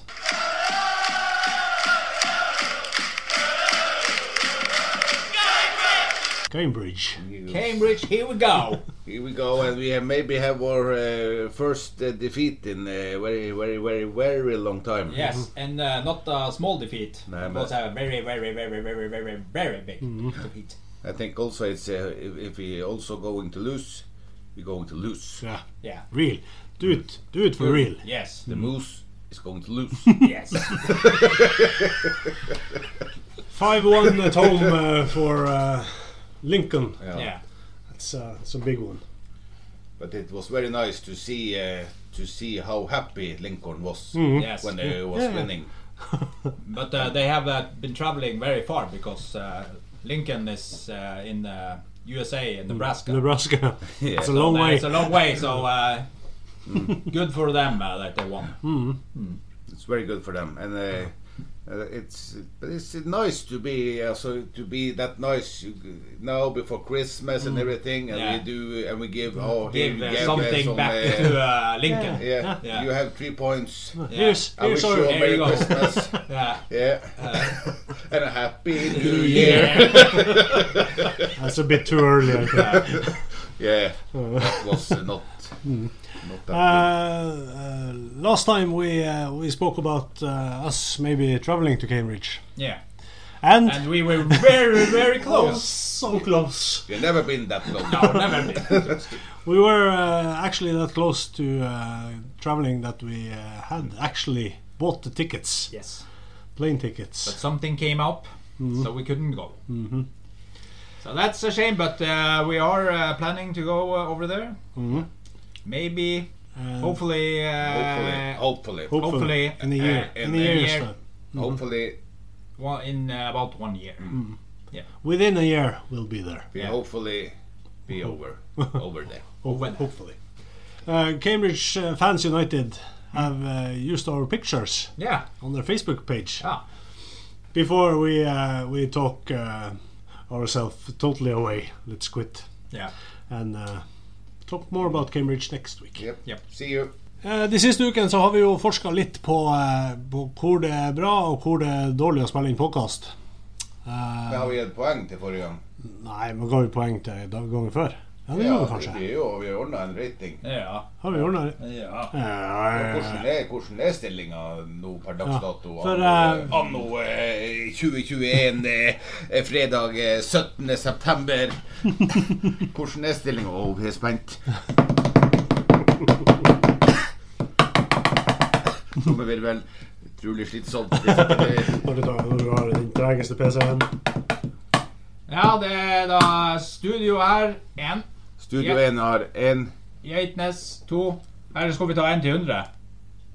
[SPEAKER 1] Cambridge.
[SPEAKER 2] Cambridge, here we go!
[SPEAKER 3] Here we go, and we have maybe have our uh, first uh, defeat in a very, very, very, very long time.
[SPEAKER 2] *laughs* Yes, and uh, not a small defeat.
[SPEAKER 3] Nei,
[SPEAKER 2] it
[SPEAKER 3] men-
[SPEAKER 2] was a very, very, very, very, very, very big defeat.
[SPEAKER 3] I think also it's uh, if, if we also going to lose, we're going to lose.
[SPEAKER 1] Yeah.
[SPEAKER 2] Yeah.
[SPEAKER 1] Real. Do it. Do it for real.
[SPEAKER 2] Yes.
[SPEAKER 3] The moose is going
[SPEAKER 2] *laughs*
[SPEAKER 3] to lose.
[SPEAKER 2] Yes.
[SPEAKER 1] 5-1 at home uh, for uh, Lincoln.
[SPEAKER 2] yeah.
[SPEAKER 1] It's, uh, it's a big one.
[SPEAKER 3] But it was very nice to see uh, to see how happy Lincoln was
[SPEAKER 2] Mm-hmm. Yes. Mm.
[SPEAKER 3] when they was
[SPEAKER 1] Yeah.
[SPEAKER 3] winning.
[SPEAKER 2] But uh, they have uh, been traveling very far because uh, Lincoln is uh, in the USA in Nebraska.
[SPEAKER 1] Nebraska.
[SPEAKER 3] *laughs* Yeah.
[SPEAKER 1] it's a long
[SPEAKER 2] Uh,
[SPEAKER 1] way.
[SPEAKER 2] It's a long way, so *laughs* uh, good for them uh, that they won.
[SPEAKER 3] It's very good for them, and uh, uh, it's but it's nice to be uh, so to be that nice you, now before Christmas and everything, and we
[SPEAKER 2] Mm. Yeah.
[SPEAKER 3] do and we give oh here
[SPEAKER 2] Give
[SPEAKER 3] we
[SPEAKER 2] uh,
[SPEAKER 3] give, uh,
[SPEAKER 2] something
[SPEAKER 3] some,
[SPEAKER 2] back
[SPEAKER 3] uh,
[SPEAKER 2] to uh, Lincoln. Yeah. *laughs*
[SPEAKER 3] *laughs* Yeah,
[SPEAKER 2] Yeah.
[SPEAKER 3] you have three
[SPEAKER 2] *laughs*
[SPEAKER 3] points.
[SPEAKER 1] Here's,
[SPEAKER 3] I wish
[SPEAKER 1] here's
[SPEAKER 3] you
[SPEAKER 1] our...
[SPEAKER 3] a
[SPEAKER 2] There you
[SPEAKER 3] Merry
[SPEAKER 2] go. *laughs* Uh.
[SPEAKER 3] Christmas. yeah, *laughs* and a Happy New
[SPEAKER 2] *laughs*
[SPEAKER 3] Year.
[SPEAKER 1] That's a bit too early. I think.
[SPEAKER 3] yeah,
[SPEAKER 2] *laughs*
[SPEAKER 3] that was uh, not
[SPEAKER 2] Mm.
[SPEAKER 3] not that
[SPEAKER 1] Uh, uh, last time we uh, we spoke about uh, us maybe traveling to Cambridge.
[SPEAKER 2] yeah.
[SPEAKER 1] And,
[SPEAKER 2] And we were very, very *laughs* close.
[SPEAKER 1] so close.
[SPEAKER 3] good. We've never been that long.
[SPEAKER 2] *laughs*
[SPEAKER 3] *laughs*
[SPEAKER 2] No, never been.
[SPEAKER 1] We were uh, actually that close to uh, traveling that we uh, had actually bought the tickets,
[SPEAKER 2] Yes.
[SPEAKER 1] plane tickets.
[SPEAKER 2] But something came up, so we couldn't go. So that's a shame, but uh, we are uh, planning to go uh, over there. Maybe,
[SPEAKER 1] And
[SPEAKER 2] hopefully, uh,
[SPEAKER 3] Hopefully, hopefully,
[SPEAKER 2] hopefully,
[SPEAKER 1] in a year,
[SPEAKER 3] uh,
[SPEAKER 1] in
[SPEAKER 3] in
[SPEAKER 1] a
[SPEAKER 3] a
[SPEAKER 1] year's
[SPEAKER 2] year.
[SPEAKER 1] time.
[SPEAKER 3] hopefully,
[SPEAKER 2] one, in uh, about one year.
[SPEAKER 1] Within a year, we'll be there.
[SPEAKER 3] we
[SPEAKER 2] Yeah.
[SPEAKER 3] hopefully be over over there.
[SPEAKER 2] Over there.
[SPEAKER 1] Hopefully. Uh, Cambridge uh, Fans United have uh, used our pictures
[SPEAKER 2] Yeah.
[SPEAKER 1] on their Facebook page
[SPEAKER 2] Ah.
[SPEAKER 1] before we uh, we talk uh, ourselves totally away. Let's quit
[SPEAKER 2] Yeah.
[SPEAKER 1] and uh, talk more about Cambridge next week.
[SPEAKER 3] Yep.
[SPEAKER 2] Yep.
[SPEAKER 3] See you.
[SPEAKER 1] Eh, De siste ukene så har vi jo forska litt på, eh, på hvor det er bra og hvor det er dårlig å spille inn podkast.
[SPEAKER 3] Da har vi gitt poeng til forrige gang.
[SPEAKER 1] Nei, men ga vi poeng til da- gangen før? Ja, det
[SPEAKER 3] Ja,
[SPEAKER 1] gjorde vi kanskje.
[SPEAKER 3] vi er jo- vi har ordna en rating.
[SPEAKER 2] Yeah.
[SPEAKER 1] Har vi ordna det?
[SPEAKER 2] Yeah.
[SPEAKER 3] Hvordan
[SPEAKER 1] Ja,
[SPEAKER 3] er, hvordan er stillinga nå per dags
[SPEAKER 1] Ja,
[SPEAKER 3] dato?
[SPEAKER 1] for,
[SPEAKER 3] anno-
[SPEAKER 1] eh,
[SPEAKER 3] Anno eh, 2021, eh, eh, fredag eh, 17.
[SPEAKER 1] *laughs*
[SPEAKER 3] september. Hvordan er stillinga? Å, vi er spent. Trommevirvel. Utrolig
[SPEAKER 1] *laughs*
[SPEAKER 3] slitsomt.
[SPEAKER 1] Når du tar- når du har den tregeste PC-en.
[SPEAKER 2] Ja, det er da studio her. Én.
[SPEAKER 3] Studio 1 har én
[SPEAKER 2] Geitnes to. Her skal vi ta én til 100.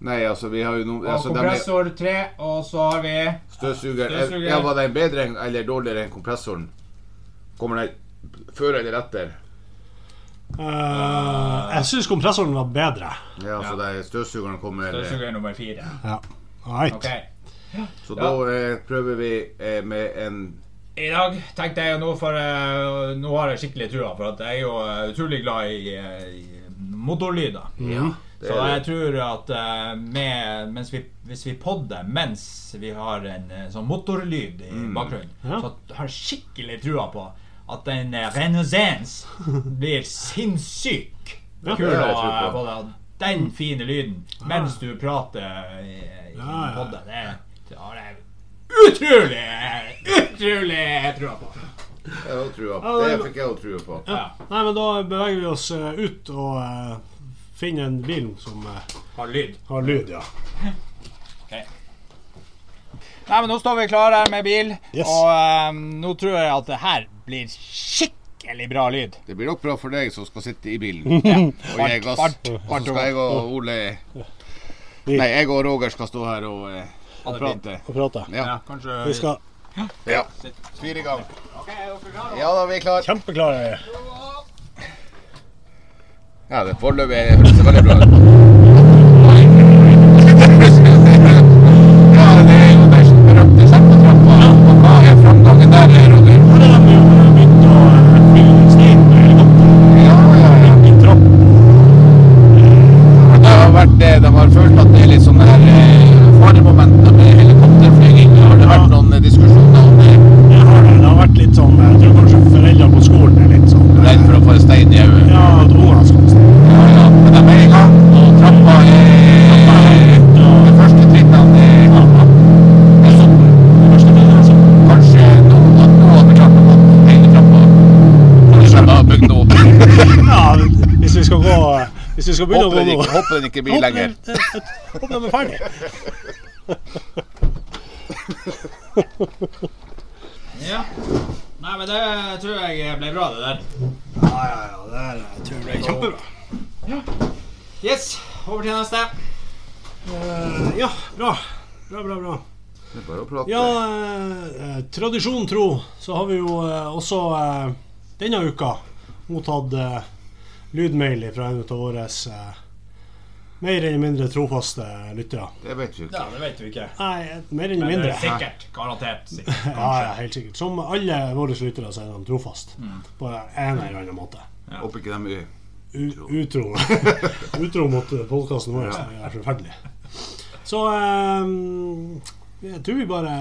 [SPEAKER 3] Nei, altså, vi har jo noen
[SPEAKER 2] Og
[SPEAKER 3] altså, dem er-
[SPEAKER 2] kompressor tre. Og så har vi
[SPEAKER 3] Støvsuger.
[SPEAKER 2] Støvsuger.
[SPEAKER 3] Ja, var den bedre enn- eller dårligere enn kompressoren? Kommer den før eller etter?
[SPEAKER 1] Eh, jeg syns kompressoren var bedre.
[SPEAKER 3] Ja, så det er støvsugeren kommer eh,
[SPEAKER 2] støvsuger nummer fire.
[SPEAKER 1] Ja. Right.
[SPEAKER 2] Ok.
[SPEAKER 3] Så
[SPEAKER 2] Ja.
[SPEAKER 3] da eh, prøver vi eh, med en
[SPEAKER 2] I dag tenkte jeg jo nå for eh, Nå har jeg skikkelig trua, for at jeg er jo eh, utrolig glad i, eh, i motorlyder.
[SPEAKER 1] Ja.
[SPEAKER 3] det
[SPEAKER 2] Så
[SPEAKER 3] er
[SPEAKER 2] jeg tror at eh, med, mens vi, hvis vi podder mens vi har en eh, sånn motorlyd i
[SPEAKER 3] Mm.
[SPEAKER 2] bakgrunnen,
[SPEAKER 1] Ja.
[SPEAKER 2] så har jeg skikkelig trua på at en eh, renaissance blir sinnssyk
[SPEAKER 1] Ja.
[SPEAKER 2] kul
[SPEAKER 3] Det
[SPEAKER 2] å
[SPEAKER 3] har jeg tro
[SPEAKER 2] eh,
[SPEAKER 3] på.
[SPEAKER 2] få den- den fine lyden mens du prater i, i
[SPEAKER 1] Ja, ja.
[SPEAKER 2] podden. Det, det har jeg Utrolig! Utrolig trua på.
[SPEAKER 3] Jeg har trua på.
[SPEAKER 1] Ja,
[SPEAKER 3] Det
[SPEAKER 1] men-
[SPEAKER 3] fikk jeg jo trua på.
[SPEAKER 2] Ja.
[SPEAKER 1] Nei, men da beveger vi oss eh, ut og eh, finner en bil som eh,
[SPEAKER 2] Har lyd.
[SPEAKER 1] har lyd, ja.
[SPEAKER 2] Nei, men nå står vi klare her med bil,
[SPEAKER 1] Yes.
[SPEAKER 2] og eh, nå tror jeg at det her blir skikkelig bra lyd.
[SPEAKER 3] Det blir nok bra for deg som skal sitte i bilen og gi gass.
[SPEAKER 2] Bart,
[SPEAKER 3] Og så
[SPEAKER 2] Bart,
[SPEAKER 3] skal jeg og Ole
[SPEAKER 1] Vi-
[SPEAKER 3] Nei, jeg og Roger skal stå her og, eh, og prate.
[SPEAKER 1] Og prate.
[SPEAKER 3] Ja.
[SPEAKER 2] kanskje
[SPEAKER 1] Vi skal
[SPEAKER 3] ja. Fyr i gang.
[SPEAKER 2] Ok, er dere klare?
[SPEAKER 3] Ja da, vi er klare.
[SPEAKER 1] kjempeklare.
[SPEAKER 3] Ja, det foreløpig er- høres det veldig bra ut. eh, Det har vært det. De har følt at det er litt sånn her eh, faremoment med helikopterflyging. Har det vært noen eh, diskusjoner om det? sånn, eh, Redd for å få en stein i øyet? Ja, ja. Men de er i gang, og trappa er De første trinnene er er sånn. altså. Kanskje noen at noen hadde klart å gå hele trappa. Kanskje de har bygd
[SPEAKER 1] *laughs*
[SPEAKER 3] noe.
[SPEAKER 1] Hvis vi skal gå eh, Hvis vi skal begynne å gå
[SPEAKER 3] Håper den
[SPEAKER 1] nå
[SPEAKER 3] ikke, håper den ikke blir lenger.
[SPEAKER 1] Håper de er
[SPEAKER 3] *laughs*
[SPEAKER 1] ferdig.
[SPEAKER 2] Ja. Nei, men det tror jeg ble bra, det der.
[SPEAKER 1] Ja, ja, ja. Det er, jeg tror det er kjempebra.
[SPEAKER 2] Yes, over til neste.
[SPEAKER 1] Eh, ja, bra. Bra, bra, bra.
[SPEAKER 3] Det er bare å prate.
[SPEAKER 1] Ja, eh, tradisjon tro så har vi jo eh, også eh, denne uka mottatt eh, lydmail fra en av våre eh, mer eller mindre trofaste lyttere.
[SPEAKER 3] Det vet vi jo
[SPEAKER 2] Ja, det vet vi ikke.
[SPEAKER 1] Nei, eh, mer eller mindre.
[SPEAKER 2] sikkert. Garantert. sikkert,
[SPEAKER 1] Ja, ja, helt sikkert. Som alle våre lyttere så er de trofast på en eller annen måte.
[SPEAKER 3] Håper ikke de er
[SPEAKER 1] U- Utro. *laughs* utro mot podkasten vår, som er forferdelig. Så eh, jeg tror vi bare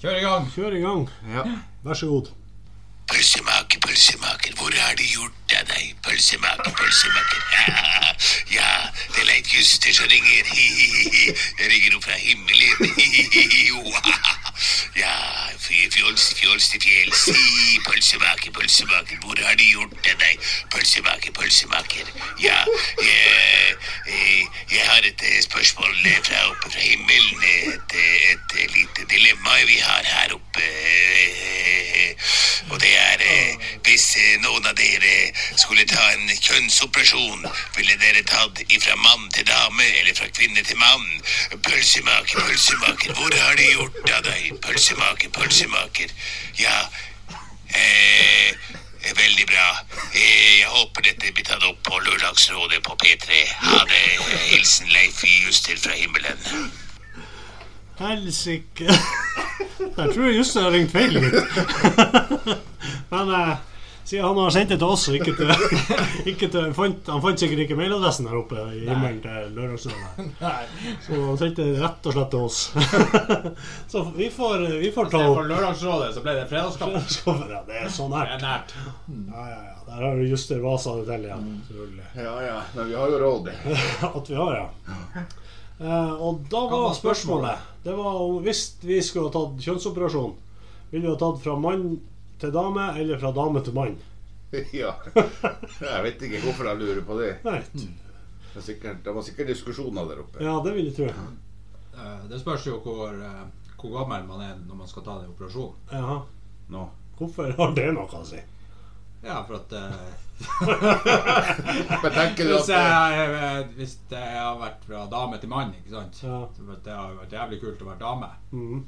[SPEAKER 2] Kjør i gang.
[SPEAKER 1] kjører i gang.
[SPEAKER 3] Ja.
[SPEAKER 1] Vær så god.
[SPEAKER 4] Pølsemaker, pølsemaker, hvor har de gjort av deg? Pølsemaker, pølsemaker. *laughs* Ja, ja, det er Leif Juster som ringer. Hi-hi-hi. Jeg ringer opp fra himmelen. Hi-hi-hi. Ja, fy- fjols, fjols til fjells. Hi, Pølsemaker, pølsemaker, hvor har de gjort av deg? Pølsemaker, pølsemaker. Ja, jeg, jeg- jeg har et eh, spørsmål eh, fra oppe fra himmelen. Et, eh, et eh, lite dilemma vi har her oppe. eh, eh, Og det er eh, hvis eh, noen av dere skulle ta en kjønnsoperasjon, ville dere tatt ifra mann til dame eller fra kvinne til mann? Pølsemaker, pølsemaker, hvor har de gjort av deg? Pølsemaker, pølsemaker. Ja, eh, veldig bra. Eh, jeg håper dette blir tatt opp på Lørdagsrådet på P3. Ha det. Hilsen Leif Juster fra himmelen.
[SPEAKER 1] Helsike *laughs* Jeg tror jeg just har ringt feil litt. *laughs* Men eh, siden han har sendt det til oss, og ikke til, *laughs* ikke til fant, Han fant sikkert ikke mailadressen her oppe i himmelen til Lørdagsrådet. *laughs* Så han sendte det rett og slett til oss. *laughs* Så vi får, vi får ta
[SPEAKER 2] For Lørdagsrådet så ble det fredagskaffe.
[SPEAKER 1] Skaffer, ja, det er *laughs* så
[SPEAKER 2] *laughs* Det er
[SPEAKER 1] nært.
[SPEAKER 2] nært.
[SPEAKER 1] Ja, ja, ja. Der har du Juster Vasa det til igjen. Selvfølgelig.
[SPEAKER 3] Ja ja, men vi har jo råd. *laughs*
[SPEAKER 1] At vi har, ja. Eh, og da
[SPEAKER 2] Hva
[SPEAKER 1] var
[SPEAKER 2] var spørsmålet?
[SPEAKER 1] spørsmålet Det var om hvis vi skulle ha tatt kjønnsoperasjon, ville vi ha tatt fra mann til dame eller fra dame til mann?
[SPEAKER 3] Ja. Jeg vet ikke hvorfor jeg lurer på det.
[SPEAKER 1] Nei.
[SPEAKER 3] Det, er sikkert, det var sikkert diskusjoner der oppe.
[SPEAKER 1] Ja, det vil jeg tro.
[SPEAKER 2] Eh, Det spørs jo hvor, eh, hvor gammel man er når man skal ta den operasjonen.
[SPEAKER 1] Jaha.
[SPEAKER 3] Nå.
[SPEAKER 1] Hvorfor har det noe å si?
[SPEAKER 2] Ja, for at eh,
[SPEAKER 3] Men tenker du
[SPEAKER 2] *laughs* hvis,
[SPEAKER 3] at
[SPEAKER 2] jeg, eh, hvis det har vært fra dame til mann, ikke sant
[SPEAKER 1] Ja.
[SPEAKER 2] For at Det har jo vært jævlig kult å være dame.
[SPEAKER 1] Mhm.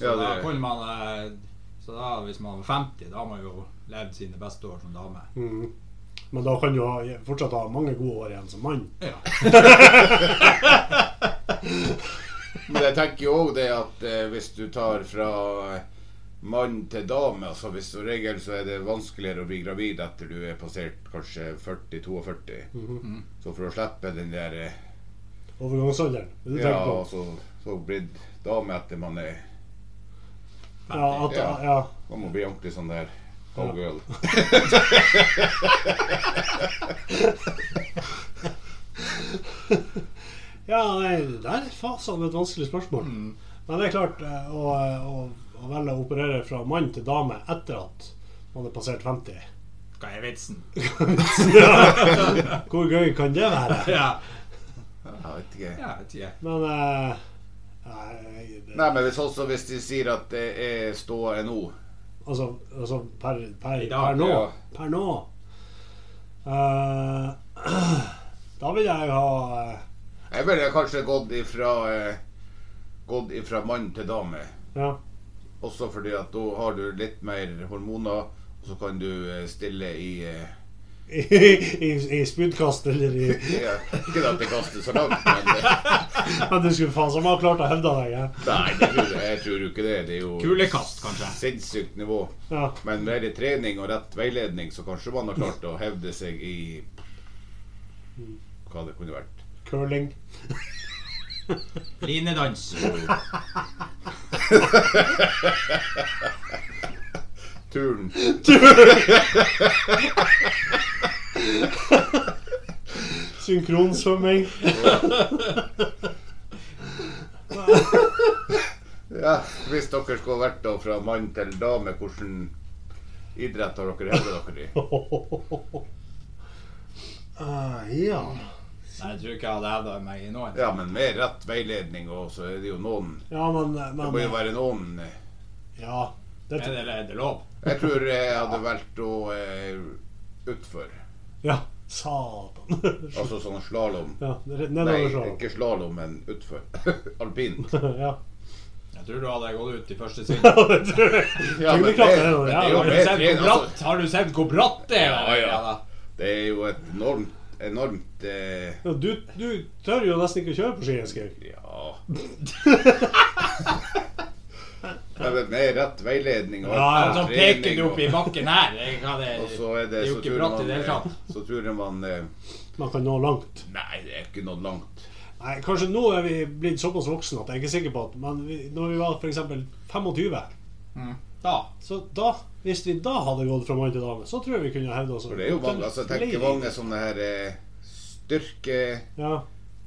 [SPEAKER 3] ja,
[SPEAKER 2] Da
[SPEAKER 3] det,
[SPEAKER 2] kunne man eh, Så da hvis man var 50, da har man jo levd sine beste år som dame.
[SPEAKER 1] Mhm. Men da kan du ha, fortsatt ha mange gode år igjen som mann.
[SPEAKER 2] Ja.
[SPEAKER 3] Men jeg tenker jo òg det at eh, hvis du tar fra eh, mann til dame altså hvis Som regel så er det vanskeligere å bli gravid etter du er passert kanskje 40-42.
[SPEAKER 1] Mhm.
[SPEAKER 3] Så for å slippe den der eh,
[SPEAKER 1] Overgangsalderen. vil Du
[SPEAKER 3] Ja,
[SPEAKER 1] tenker på.
[SPEAKER 3] altså så blitt dame etter man er
[SPEAKER 1] Ja, at,
[SPEAKER 3] ja.
[SPEAKER 1] ja.
[SPEAKER 3] Man må bli ordentlig sånn der cowgirl.
[SPEAKER 1] ja, nei, det der er faen meg et vanskelig spørsmål. Men det er klart, eh, å, å, å velge å operere fra mann til dame etter at man er passert 50
[SPEAKER 2] Hva er vitsen?
[SPEAKER 1] Ja. Hvor gøy kan det være?
[SPEAKER 2] *laughs* Ja,
[SPEAKER 3] Jeg vet ikke.
[SPEAKER 2] ja vet ikke.
[SPEAKER 1] Men eh, nei, det,
[SPEAKER 3] Nei, men hvis også hvis de sier at det er ståa nå
[SPEAKER 1] altså, altså per, per,
[SPEAKER 2] I dag,
[SPEAKER 1] per nå
[SPEAKER 3] ja.
[SPEAKER 1] Per nå eh, *clears throat* Da vil jeg ha eh,
[SPEAKER 3] Jeg ville kanskje gått ifra eh, Gått ifra mann til dame.
[SPEAKER 1] Ja. *laughs*
[SPEAKER 3] Også fordi at da har du litt mer hormoner, og så kan du eh, stille i eh,
[SPEAKER 1] I, i, i spydkast eller i
[SPEAKER 3] ja, Ikke at det kaster så langt, men eh,
[SPEAKER 1] Men du skulle faen meg ha klart å hevde deg. Ja.
[SPEAKER 3] Nei, det tror jeg, jeg tror jo ikke det. Det er jo
[SPEAKER 2] Kulekast, kanskje.
[SPEAKER 3] sinnssykt nivå.
[SPEAKER 1] Ja.
[SPEAKER 3] Men med litt trening og rett veiledning, så kanskje man har klart å hevde seg i Hva det kunne vært.
[SPEAKER 1] Curling.
[SPEAKER 2] *laughs* Linedans.
[SPEAKER 3] Turn.
[SPEAKER 1] *laughs* Synkronsvømming.
[SPEAKER 3] Ja, hvis dere skulle vært da fra mann til dame, hvordan idrett har dere hevda dere i?
[SPEAKER 1] Ah, ja.
[SPEAKER 2] Nei, jeg tror ikke jeg hadde hevda meg i noen.
[SPEAKER 3] Ja, men med rett veiledning, og så er det jo noen
[SPEAKER 1] ja, men,
[SPEAKER 3] Det må jo
[SPEAKER 1] men
[SPEAKER 3] være noen eh,
[SPEAKER 1] Ja. Det,
[SPEAKER 2] Er det, er det lov?
[SPEAKER 3] Jeg tror jeg hadde valgt å eh, utfor.
[SPEAKER 1] ja. Satan. *laughs*
[SPEAKER 3] Altså sånn slalåm.
[SPEAKER 1] Ja, det er
[SPEAKER 3] Nei,
[SPEAKER 1] nedover sånn.
[SPEAKER 3] ikke slalåm, men utfor. *laughs* Alpint.
[SPEAKER 1] *laughs* Ja.
[SPEAKER 2] Jeg tror du hadde gått ut i første sving.
[SPEAKER 3] *laughs*
[SPEAKER 1] det tror jeg.
[SPEAKER 3] Ja, men det,
[SPEAKER 1] Tyngdekraft er noe,
[SPEAKER 3] men det
[SPEAKER 1] ja.
[SPEAKER 3] er jo
[SPEAKER 2] Har du
[SPEAKER 3] mer
[SPEAKER 2] sett hvor
[SPEAKER 3] trening. Altså,
[SPEAKER 2] bratt, har du sett hvor bratt det er?
[SPEAKER 3] Ja, ja.
[SPEAKER 2] da.
[SPEAKER 3] det er jo et enormt, enormt eh,
[SPEAKER 1] Ja, Du, du tør jo nesten ikke å kjøre på ski, Eskil.
[SPEAKER 3] Ja Nei, men Med rett veiledning og
[SPEAKER 1] Ja,
[SPEAKER 2] Ja,
[SPEAKER 1] ja.
[SPEAKER 2] så Sånn
[SPEAKER 3] trening
[SPEAKER 2] peker du
[SPEAKER 3] og-
[SPEAKER 2] opp i bakken her. Det, kan- det,
[SPEAKER 3] Og så er det,
[SPEAKER 2] det er jo
[SPEAKER 3] så
[SPEAKER 2] ikke
[SPEAKER 3] tror
[SPEAKER 2] bratt i
[SPEAKER 3] man,
[SPEAKER 2] det hele tatt.
[SPEAKER 3] eh, Så tror man eh,
[SPEAKER 1] Man kan nå langt.
[SPEAKER 3] Nei, det er ikke noe langt.
[SPEAKER 1] Nei, Kanskje nå er vi blitt såpass voksne at jeg er ikke sikker på at Men vi, når vi var f.eks. 25,
[SPEAKER 2] Da.
[SPEAKER 1] så da Hvis vi da hadde gått fra mann til dame, så tror jeg vi kunne hevde oss.
[SPEAKER 3] For det er jo mange altså, jeg tenker mange sånne her eh, styrke
[SPEAKER 1] Ja,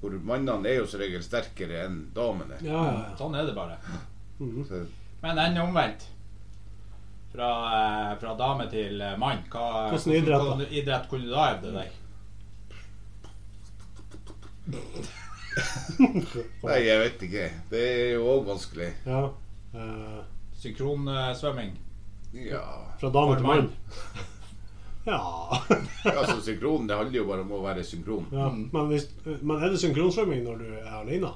[SPEAKER 3] Hvor mannene er jo som regel sterkere enn damene.
[SPEAKER 1] ja, ja.
[SPEAKER 2] Sånn er det bare.
[SPEAKER 3] Så,
[SPEAKER 2] Men enn omvendt. Fra, eh, fra dame til eh, mann. Hva,
[SPEAKER 1] Hvordan idrett, da?
[SPEAKER 2] hvordan idrett kunne du da hevde deg?
[SPEAKER 3] nei, jeg vet ikke. Det er jo òg vanskelig.
[SPEAKER 1] ja. Eh,
[SPEAKER 2] Synkronsvømming.
[SPEAKER 3] Ja.
[SPEAKER 1] fra dame til mann.
[SPEAKER 2] mann.
[SPEAKER 1] Ja.
[SPEAKER 3] Altså, synkron det handler jo bare om å være synkron.
[SPEAKER 1] ja. Men, hvis, men er det synkronsvømming når du er alene?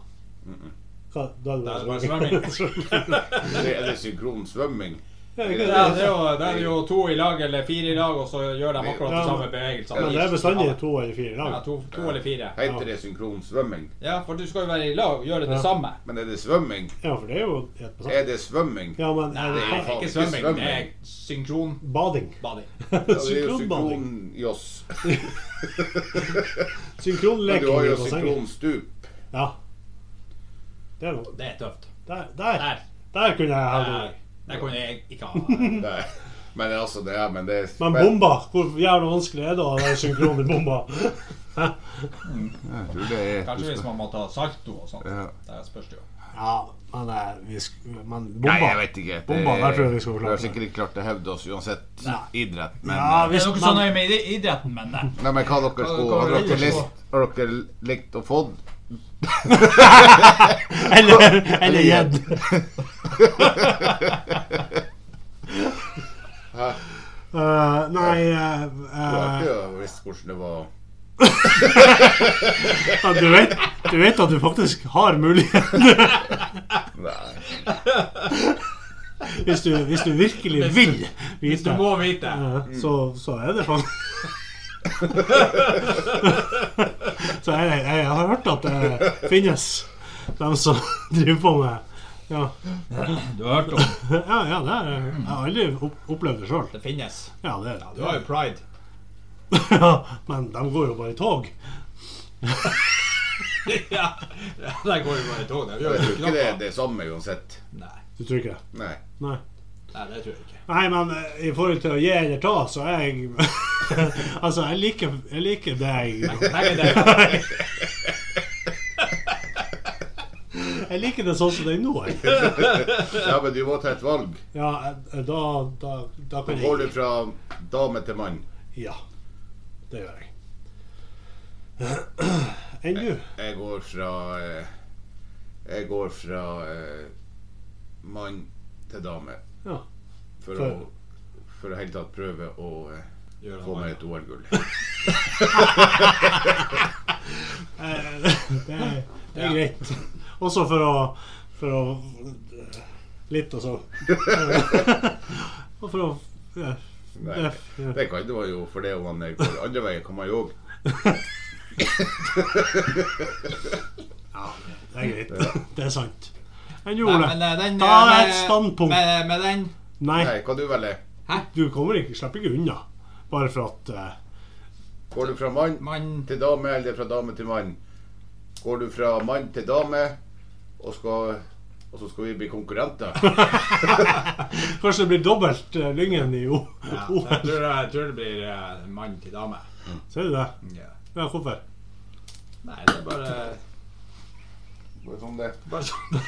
[SPEAKER 1] Hva, da
[SPEAKER 2] Da er
[SPEAKER 1] er
[SPEAKER 2] det bare
[SPEAKER 1] det bare svømming.
[SPEAKER 3] Eller er det synkron svømming?
[SPEAKER 1] *laughs* Ja, ikke
[SPEAKER 2] Ja,
[SPEAKER 1] det.
[SPEAKER 2] det er jo, da er det jo to i lag eller fire i lag, og så gjør de akkurat de
[SPEAKER 1] Ja,
[SPEAKER 2] samme
[SPEAKER 1] men-
[SPEAKER 2] bevegelsene.
[SPEAKER 1] Men det er bestandig to eller fire i
[SPEAKER 2] Ja,
[SPEAKER 1] lag.
[SPEAKER 2] to, to eller fire.
[SPEAKER 3] Heter det synkron svømming?
[SPEAKER 2] Ja, for du skal jo være i lag og gjøre det
[SPEAKER 1] Ja.
[SPEAKER 2] samme.
[SPEAKER 3] Men er det svømming?
[SPEAKER 1] Ja, for det er jo helt på samme.
[SPEAKER 3] Er det svømming?
[SPEAKER 1] Ja, men er
[SPEAKER 2] Nei,
[SPEAKER 1] det
[SPEAKER 2] ikke
[SPEAKER 3] ikke
[SPEAKER 2] svømming. Det er
[SPEAKER 3] svømming.
[SPEAKER 2] synkronbading.
[SPEAKER 1] bading?
[SPEAKER 3] Ja, det er jo
[SPEAKER 1] Synkronbading.
[SPEAKER 3] synkronjoss.
[SPEAKER 1] *laughs*
[SPEAKER 3] Men du har
[SPEAKER 1] Synkronleking i
[SPEAKER 3] jo
[SPEAKER 1] bassenget.
[SPEAKER 3] synkronstup.
[SPEAKER 1] Ja. Det er noe.
[SPEAKER 2] Det er tøft.
[SPEAKER 1] Der, der,
[SPEAKER 2] Der.
[SPEAKER 1] der kunne jeg hevde
[SPEAKER 2] Der,
[SPEAKER 1] meg.
[SPEAKER 2] der kunne jeg ikke ha
[SPEAKER 3] Nei. Men altså, det er, men det er
[SPEAKER 1] Men bomba, hvor jævla vanskelig er det å være synkron i
[SPEAKER 3] *laughs*
[SPEAKER 1] bomba?
[SPEAKER 3] Jeg tror det er
[SPEAKER 2] Kanskje hvis man må ta salto og sånt.
[SPEAKER 3] Ja.
[SPEAKER 2] Der spørs det jo.
[SPEAKER 1] Ja, men, eh, vi sk men bomba
[SPEAKER 3] Nei, jeg vet ikke. Det,
[SPEAKER 1] Bomba, der tror jeg vi skal
[SPEAKER 3] vi har
[SPEAKER 1] klare det.
[SPEAKER 3] sikkert ikke klart å hevde oss uansett
[SPEAKER 1] Nei.
[SPEAKER 3] idrett. Men,
[SPEAKER 1] Ja,
[SPEAKER 2] Det
[SPEAKER 1] hvis
[SPEAKER 2] er noe sånn- så
[SPEAKER 1] man,
[SPEAKER 2] nøye med id- idretten, men det.
[SPEAKER 3] nei, men hva dere skulle
[SPEAKER 2] hva
[SPEAKER 3] Har
[SPEAKER 2] vil
[SPEAKER 3] dere,
[SPEAKER 2] dere
[SPEAKER 3] lyst- har dere likt å få den?
[SPEAKER 1] Eller eller gjedd. *laughs*
[SPEAKER 3] *laughs*
[SPEAKER 1] Eh, nei eh,
[SPEAKER 3] Du har
[SPEAKER 1] eh,
[SPEAKER 3] ikke visst hvordan det var
[SPEAKER 1] ja, du, vet, du vet at du faktisk har muligheten
[SPEAKER 3] Nei.
[SPEAKER 1] hvis, du, hvis du virkelig vil
[SPEAKER 2] Hvis du
[SPEAKER 1] vite.
[SPEAKER 2] må vite.
[SPEAKER 1] Eh, Så, så er det faen Så jeg, jeg, jeg har hørt at det finnes dem som driver på med Ja,
[SPEAKER 2] Du har hørt om
[SPEAKER 1] ja, ja det har jeg jeg har aldri opp- opplevd det sjøl.
[SPEAKER 2] det finnes.
[SPEAKER 1] Ja, det
[SPEAKER 2] Du har jo pride. *laughs*
[SPEAKER 1] *laughs* Ja, men de går jo bare i tog.
[SPEAKER 2] Ja, ja, der går jo bare i tog. Der gjør
[SPEAKER 3] Jeg
[SPEAKER 2] jo ikke
[SPEAKER 3] tror ikke det er
[SPEAKER 2] noe.
[SPEAKER 3] det samme uansett.
[SPEAKER 2] Nei,
[SPEAKER 1] Du tror ikke det?
[SPEAKER 3] Nei.
[SPEAKER 1] Nei.
[SPEAKER 2] nei, det tror jeg *laughs* ikke.
[SPEAKER 1] Nei, men eh, i forhold til å gi eller ta, så er jeg *laughs* Altså, jeg liker, jeg liker det jeg
[SPEAKER 2] Tenk deg det.
[SPEAKER 1] Jeg Jeg liker det sånn som det er nå. jeg.
[SPEAKER 3] Ja, men du må ta et valg.
[SPEAKER 1] Ja, eh, da, da, da
[SPEAKER 3] Nå
[SPEAKER 1] kan
[SPEAKER 3] går du
[SPEAKER 1] jeg
[SPEAKER 3] fra dame til mann.
[SPEAKER 1] Ja, det gjør jeg. *clears throat* Enn du?
[SPEAKER 3] Jeg går fra eh, Jeg går fra eh, mann til dame
[SPEAKER 1] Ja.
[SPEAKER 3] for,
[SPEAKER 1] For-
[SPEAKER 3] å For å helt tatt prøve å eh,
[SPEAKER 2] Gjør han
[SPEAKER 3] få meg
[SPEAKER 2] bare.
[SPEAKER 3] et
[SPEAKER 1] *laughs*
[SPEAKER 3] OL-gull.
[SPEAKER 1] Eh, *laughs* Det er, det er greit. Også for å, for å eh, Litt, altså. *laughs* Og for å ja.
[SPEAKER 3] Nei, Det kan det var jo for det om han går andre veien, kan man jo òg.
[SPEAKER 1] Ja, det er greit. *laughs* Det er sant. Enn du,
[SPEAKER 2] Nei,
[SPEAKER 1] Ole?
[SPEAKER 2] men, eh, den,
[SPEAKER 1] Ta
[SPEAKER 2] eh,
[SPEAKER 1] et standpunkt.
[SPEAKER 2] Med, med den
[SPEAKER 1] Nei,
[SPEAKER 3] Nei, hva du velger?
[SPEAKER 1] du kommer ikke, slipper ikke unna. Bare for at eh,
[SPEAKER 3] Går du fra mann
[SPEAKER 2] *laughs* mann
[SPEAKER 3] til dame, eller fra dame til mann? Går du fra mann til dame, og, skal, og så skal vi bli *laughs* konkurrenter?
[SPEAKER 1] Kanskje det blir dobbelt eh, Lyngen i O-
[SPEAKER 2] ja,
[SPEAKER 1] OL.
[SPEAKER 2] jeg, tror, jeg tror det blir eh, mann til dame.
[SPEAKER 1] Ser du det?
[SPEAKER 2] Ja.
[SPEAKER 1] Ja, hvorfor?
[SPEAKER 2] Nei, det er bare,
[SPEAKER 3] Bare sånn det.
[SPEAKER 2] bare sånn.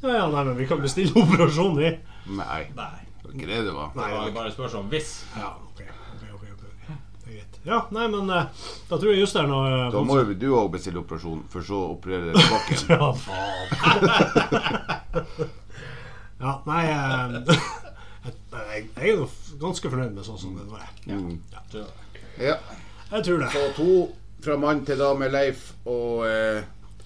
[SPEAKER 1] Ja, ja, nei, men vi kan bestille operasjon, vi.
[SPEAKER 3] Nei,
[SPEAKER 2] Nei.
[SPEAKER 3] det var ikke det det var.
[SPEAKER 2] Det var bare spørsmål om hvis.
[SPEAKER 1] Ja, ok, ok, ok, ok, ok. Det er greit. Ja, nei, men eh, da tror jeg just det er noe eh,
[SPEAKER 3] Da må jo du òg bestille operasjon, for så å operere deg tilbake igjen.
[SPEAKER 1] Ja, faen. *laughs* ja, nei eh, *laughs* jeg, jeg, jeg er nå f- ganske fornøyd med sånn som det var.
[SPEAKER 3] Mm.
[SPEAKER 2] Så,
[SPEAKER 3] *laughs* Ja.
[SPEAKER 1] Jeg tror det.
[SPEAKER 3] Så to fra mann til dame, Leif, og eh,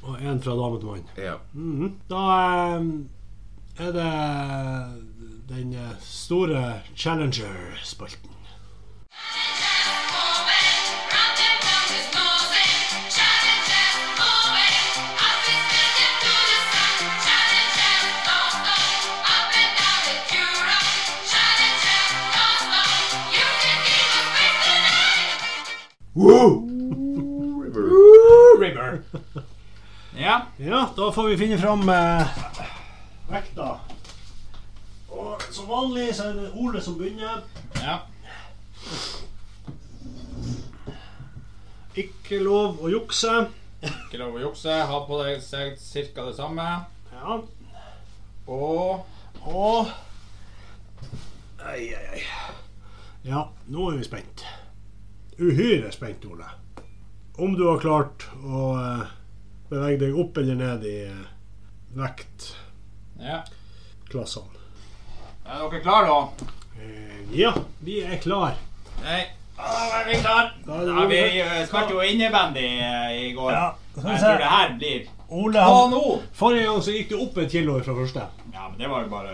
[SPEAKER 1] Og én fra dame til mann.
[SPEAKER 3] ja.
[SPEAKER 1] Mhm. Da eh, er det den eh, store Challenger-spalten. *laughs*
[SPEAKER 2] River. Ja.
[SPEAKER 1] Ja, da får vi finne fram eh, vekta. Og som vanlig så er det Ole som begynner.
[SPEAKER 2] ja.
[SPEAKER 1] Ikke lov å jukse.
[SPEAKER 2] Ikke lov å jukse. Ha på deg seg cirka det samme.
[SPEAKER 1] Ja.
[SPEAKER 2] Og
[SPEAKER 1] Og Ai, ai, ai. Ja, nå er vi spent. Uhyre spent, Ole. Om du har klart å eh, bevege deg opp eller ned i eh, vektklassene.
[SPEAKER 2] Ja. Er dere klare, da?
[SPEAKER 1] Eh, Ja, vi er klar.
[SPEAKER 2] Nei. Da er vi klare.
[SPEAKER 1] Da er det
[SPEAKER 2] Ja, vi
[SPEAKER 1] Ole.
[SPEAKER 2] eh, spilte jo innebandy eh, i går.
[SPEAKER 1] Ja,
[SPEAKER 2] Så Jeg tror det her blir
[SPEAKER 1] Ole
[SPEAKER 2] Å,
[SPEAKER 1] han,
[SPEAKER 2] nå!
[SPEAKER 1] Forrige gang så gikk du opp et kilo fra første.
[SPEAKER 2] Ja, men det var jo bare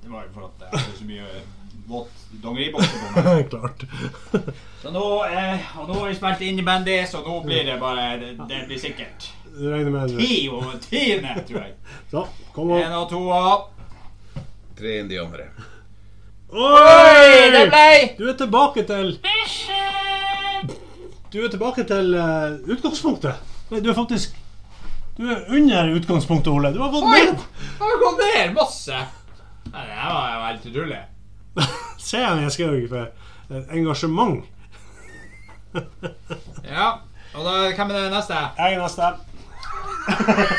[SPEAKER 2] Det var jo for at jeg hadde så mye våt dongeribokse på meg.
[SPEAKER 1] *laughs* Klart.
[SPEAKER 2] Så nå, eh, og nå har vi spilt innebandy, så nå blir det bare Det, det blir sikkert
[SPEAKER 1] Du regner med det.
[SPEAKER 2] ti over tiende, tror jeg.
[SPEAKER 1] Så, kom
[SPEAKER 2] Én
[SPEAKER 1] opp.
[SPEAKER 2] og to og
[SPEAKER 3] Tre enn de andre.
[SPEAKER 2] Oi, det ble
[SPEAKER 1] Du er tilbake til Du er tilbake til eh, utgangspunktet. Nei, du er faktisk Du er under utgangspunktet, Ole. Du har gått
[SPEAKER 2] Oi!
[SPEAKER 1] ned.
[SPEAKER 2] Har gått ned masse. Nei, det her var jo helt utrolig.
[SPEAKER 1] *laughs* Se, jeg skrev ikke for eh, engasjement.
[SPEAKER 2] Ja. Og da, hvem er det neste?
[SPEAKER 1] Jeg er neste.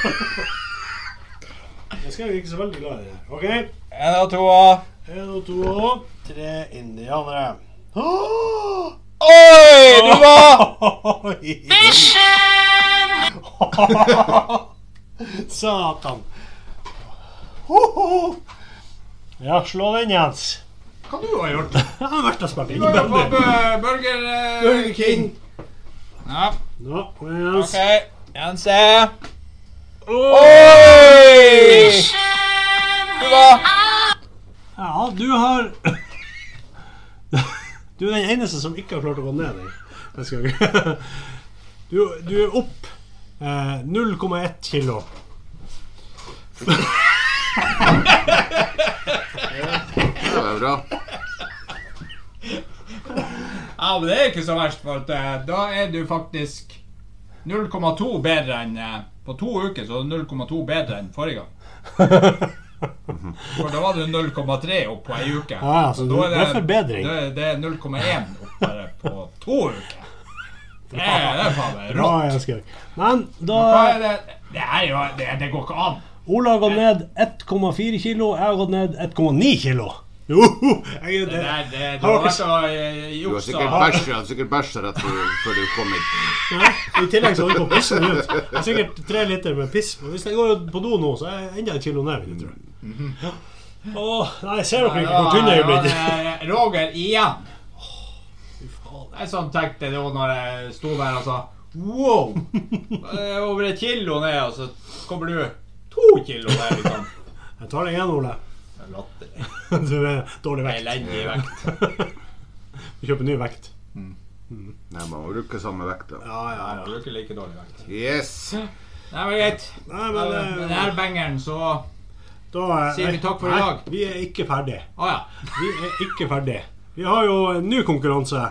[SPEAKER 1] *laughs* Jeg skrev ikke så veldig glad i det. OK.
[SPEAKER 2] Én og to og
[SPEAKER 1] En og to og tre indianere. Åh!
[SPEAKER 2] Oi, du var
[SPEAKER 1] Oi! Satan. Ho, ho. Ja, slå den, Jens.
[SPEAKER 2] Hva du har gjort?
[SPEAKER 1] *laughs* Jeg har vært og spilt
[SPEAKER 2] Du har jo fått
[SPEAKER 1] innebandy.
[SPEAKER 2] bu- Burger eh,
[SPEAKER 1] Burger King.
[SPEAKER 2] Ja,
[SPEAKER 1] Nå, kom igjen, Jens.
[SPEAKER 2] OK. Jense.
[SPEAKER 1] Åh!
[SPEAKER 2] Oi! Du var
[SPEAKER 1] Ja, du har *laughs* Du er den eneste som ikke har klart å gå ned i neste gang. Du, *laughs* du er opp eh, 0,1 kilo.
[SPEAKER 3] Det var bra.
[SPEAKER 2] Ja, men det er ikke så verst, for at, eh, da er du faktisk 0,2 bedre enn eh, På to uker så er du 0,2 bedre enn forrige gang. For da var du 0,3 opp på ei uke.
[SPEAKER 1] Ja, ja, så
[SPEAKER 2] da
[SPEAKER 1] det er forbedring.
[SPEAKER 2] Det, det er 0,1 opp bare på
[SPEAKER 1] *laughs*
[SPEAKER 2] to uker. Det er, det er faen meg
[SPEAKER 1] Bra,
[SPEAKER 2] rått.
[SPEAKER 1] Jens Georg. Men da
[SPEAKER 2] Hva er det Det er jo Det, det går ikke an.
[SPEAKER 1] Ola har gått ned 1,4 kilo, jeg har gått ned 1,9 kilo. Joho! Jeg,
[SPEAKER 2] Det,
[SPEAKER 1] det,
[SPEAKER 2] der- det, det
[SPEAKER 1] Har dere
[SPEAKER 2] har vært å eh,
[SPEAKER 3] Du har
[SPEAKER 2] juksa.
[SPEAKER 3] sikkert bæsja- du har sikkert bæsja rett før, før du kom hit.
[SPEAKER 1] Nei, I tillegg så holder jeg på å pisse meg ut. Jeg har sikkert tre liter med piss. Men hvis jeg går på do nå, så er jeg enda et kilo ned. vil jeg tro. Ja. Åh, nei, ser dere ikke hvor tynn jeg er blitt?
[SPEAKER 2] Ja, det er Roger igjen.
[SPEAKER 1] Fy faen.
[SPEAKER 2] Jeg sånn tenkte det var når jeg sto der og sa wow! Eh, Over et kilo ned, og så kommer du to kilo ned, liksom.
[SPEAKER 1] Jeg tar deg igjen, Ole. *laughs*
[SPEAKER 2] Det er Latterlig.
[SPEAKER 1] Du er dårlig vekt.
[SPEAKER 2] Elendig vekt.
[SPEAKER 1] Du kjøper ny vekt.
[SPEAKER 3] Nei, man må bruke samme vekta.
[SPEAKER 1] Ja, ja,
[SPEAKER 2] Jeg
[SPEAKER 1] ja.
[SPEAKER 2] bruker like dårlig vekt.
[SPEAKER 3] Yes!
[SPEAKER 2] Nei, men greit.
[SPEAKER 1] Nei,
[SPEAKER 2] Med
[SPEAKER 1] men eh,
[SPEAKER 2] denne bangeren, så Å
[SPEAKER 1] da eh,
[SPEAKER 2] sier vi takk for i
[SPEAKER 1] nei,
[SPEAKER 2] dag.
[SPEAKER 1] Vi er ikke ferdig.
[SPEAKER 2] ja.
[SPEAKER 1] Vi er ikke ferdig. Vi har jo en ny konkurranse.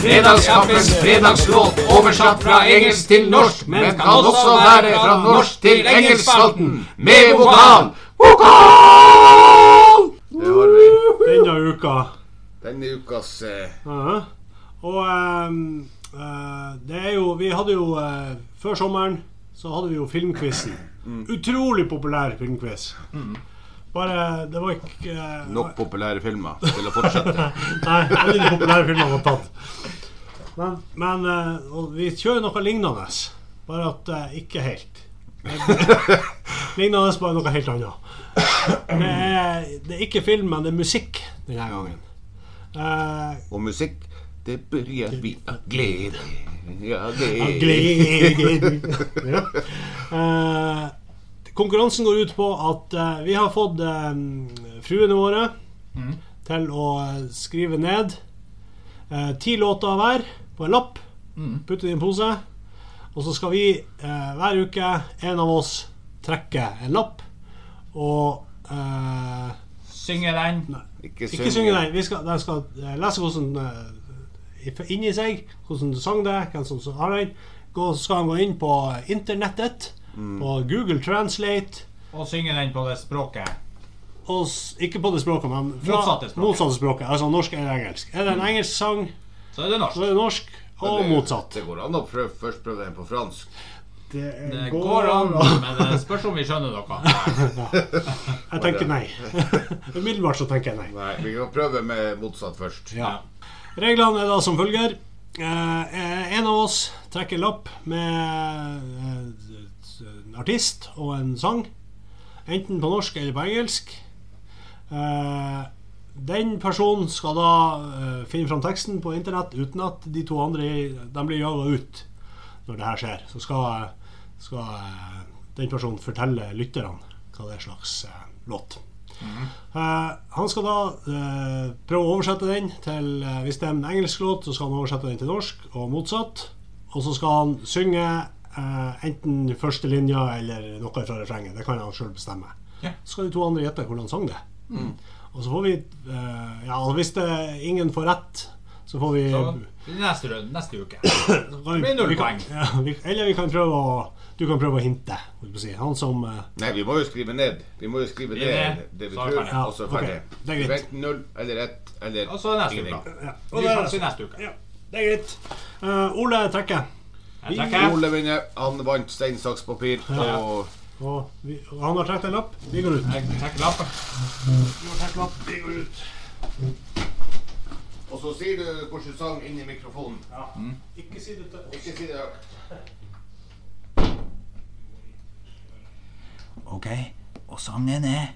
[SPEAKER 3] Fredagskaffens fredagslåt oversatt fra engelsk til norsk, men kan også være fra norsk til engelskspalten med vokal. Vokal! Det har vi.
[SPEAKER 1] Denne uka.
[SPEAKER 5] Denne ukas eh,
[SPEAKER 1] Ja. Og ehm, eh, det er jo Vi hadde jo eh, Før sommeren så hadde vi jo filmquizen. Utrolig populær filmquiz. Bare Det var ikke eh,
[SPEAKER 3] Nok populære filmer til å fortsette.
[SPEAKER 1] Nei, alle de populære filmene var tatt. Men, men eh, og vi kjører noe lignende, bare at eh, ikke helt. lignende, bare noe helt annet. Det er, det er ikke film, men det er musikk denne gangen. Eh,
[SPEAKER 3] Og musikk, det bryr vi av glede. Ja,
[SPEAKER 1] Ja,
[SPEAKER 3] glede.
[SPEAKER 1] gleden. ja. Eh, konkurransen går ut på at eh, vi har fått eh, fruene våre til å eh, skrive ned eh, ti låter hver på en lapp. Putte det i en pose. Og så skal vi eh, hver uke, en av oss, trekke en lapp. Og eh,
[SPEAKER 2] Synger den.
[SPEAKER 3] Ikke
[SPEAKER 1] ikke synge, nei. Vi skal, de skal eh, lese hvordan eh, if- inni seg, hvordan sang det er, hvem som
[SPEAKER 2] Mm.
[SPEAKER 1] har den. Gå, så skal han gå inn på internettet, på Google Translate,
[SPEAKER 2] Og synge den på det språket.
[SPEAKER 1] Og s- ikke på det språket, men fra
[SPEAKER 2] Motsatte språket. Mm.
[SPEAKER 1] motsatte språket. Altså norsk eller engelsk. Er det en engelsk sang,
[SPEAKER 2] Så er det norsk.
[SPEAKER 1] så er det norsk, og
[SPEAKER 3] det-
[SPEAKER 1] motsatt.
[SPEAKER 3] Det går an å prøve, først prøve den på fransk.
[SPEAKER 1] Det
[SPEAKER 2] Det går an, men det spørs om vi skjønner *laughs* noe.
[SPEAKER 1] Jeg tenker
[SPEAKER 2] *laughs*
[SPEAKER 1] nei. Umiddelbart så tenker jeg nei.
[SPEAKER 3] Nei, vi kan prøve med motsatt først.
[SPEAKER 1] Ja. Reglene er da som følger. Eh, eh, en av oss trekker lapp med eh, en artist og en sang. Enten på norsk eller på engelsk. Eh, den personen skal da eh, finne fram teksten på internett uten at de to andre de blir jaga ut når det her skjer. Så skal, skal eh, den personen fortelle lytterne hva det er slags eh, låt. Eh, han skal da eh, prøve å oversette den til eh, Hvis det er en engelsk låt, så skal han oversette den til norsk, og motsatt. Og så skal han synge eh, enten første linja eller noe fra refrenget. Det kan han sjøl bestemme.
[SPEAKER 2] Ja. Mm.
[SPEAKER 1] Så skal de to andre gjette hvordan han sang det. Og så får vi eh, Ja, og hvis det, ingen får rett, så får vi,
[SPEAKER 2] Så, i neste, runde, neste uke.
[SPEAKER 1] så kan vi
[SPEAKER 2] blir null
[SPEAKER 1] vi kan-
[SPEAKER 2] poeng.
[SPEAKER 1] Ja, vi, eller vi kan prøve å Du kan prøve å hinte. holdt på å Si. Han som eh,
[SPEAKER 3] Nei, vi må jo skrive ned. Vi må jo skrive
[SPEAKER 2] Det er
[SPEAKER 3] ned
[SPEAKER 2] det.
[SPEAKER 3] det vi
[SPEAKER 2] Så er
[SPEAKER 3] tror,
[SPEAKER 2] det ferdig.
[SPEAKER 3] og så er
[SPEAKER 1] Ja,
[SPEAKER 3] ferdig.
[SPEAKER 1] ok. Det er
[SPEAKER 3] Vi
[SPEAKER 1] greit.
[SPEAKER 3] Enten null eller ett eller
[SPEAKER 2] Og så er neste
[SPEAKER 3] ingenting.
[SPEAKER 2] uke.
[SPEAKER 1] ja.
[SPEAKER 2] Vi snakkes i neste uke.
[SPEAKER 1] Ja, det er greit. Eh, Ole trekker.
[SPEAKER 2] Jeg trekker.
[SPEAKER 3] Ole vinner. Han vant stein, saks, papir. Og
[SPEAKER 1] Og, vi, og han har trukket en lapp. Vi går ut.
[SPEAKER 2] Jeg trekker lappen.
[SPEAKER 3] Og så sier du hvordan sang inn i mikrofonen.
[SPEAKER 2] Mm.
[SPEAKER 1] Ikke si det til
[SPEAKER 3] Ikke si det høyt.
[SPEAKER 6] Ok, og sangen er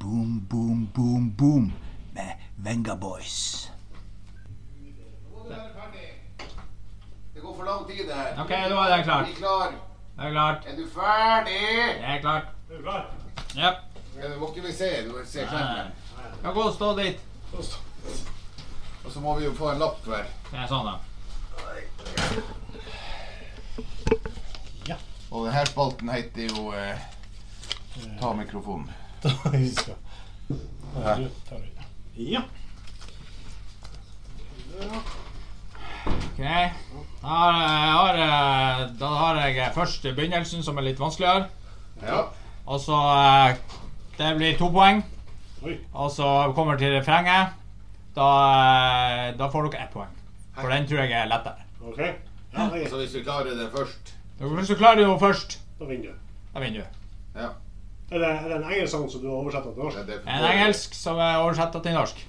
[SPEAKER 6] Boom, boom, boom, boom med Venga Boys.
[SPEAKER 3] Nå må du være ferdig. Det går for lang tid, det her.
[SPEAKER 2] Ok, nå er det
[SPEAKER 3] Vi
[SPEAKER 2] klart.
[SPEAKER 3] er klar.
[SPEAKER 2] Det er klart.
[SPEAKER 3] Er du ferdig?
[SPEAKER 2] Det er klart.
[SPEAKER 1] Nei,
[SPEAKER 2] Ja.
[SPEAKER 3] Ja, du må ikke vi se. Du vil se skjermen.
[SPEAKER 2] Skal gå og stå dit.
[SPEAKER 3] Og så må vi jo få en lapp hver.
[SPEAKER 2] Det er sånn, da.
[SPEAKER 3] Og denne spalten heter jo eh, Ta mikrofonen.
[SPEAKER 1] vi skal. Du tar det. Ja.
[SPEAKER 2] Ok. Da har, jeg- har, jeg- da har jeg først begynnelsen, som er litt vanskeligere.
[SPEAKER 3] Ja.
[SPEAKER 2] Og så eh, Det blir to poeng.
[SPEAKER 1] Oi.
[SPEAKER 2] Og så kommer det til refrenget. Da, eh, da får dere ett poeng. For den tror jeg er lettere.
[SPEAKER 1] OK. Ja, det er greit.
[SPEAKER 3] Så hvis vi klarer det først
[SPEAKER 2] Dere- Hvis du klarer det først,
[SPEAKER 1] Da vinner du.
[SPEAKER 2] da vinner du.
[SPEAKER 3] Ja.
[SPEAKER 1] Er det, er det en engelsk sang som du har oversatt til norsk?
[SPEAKER 3] det er for-
[SPEAKER 2] En engelsk som er oversatt til norsk.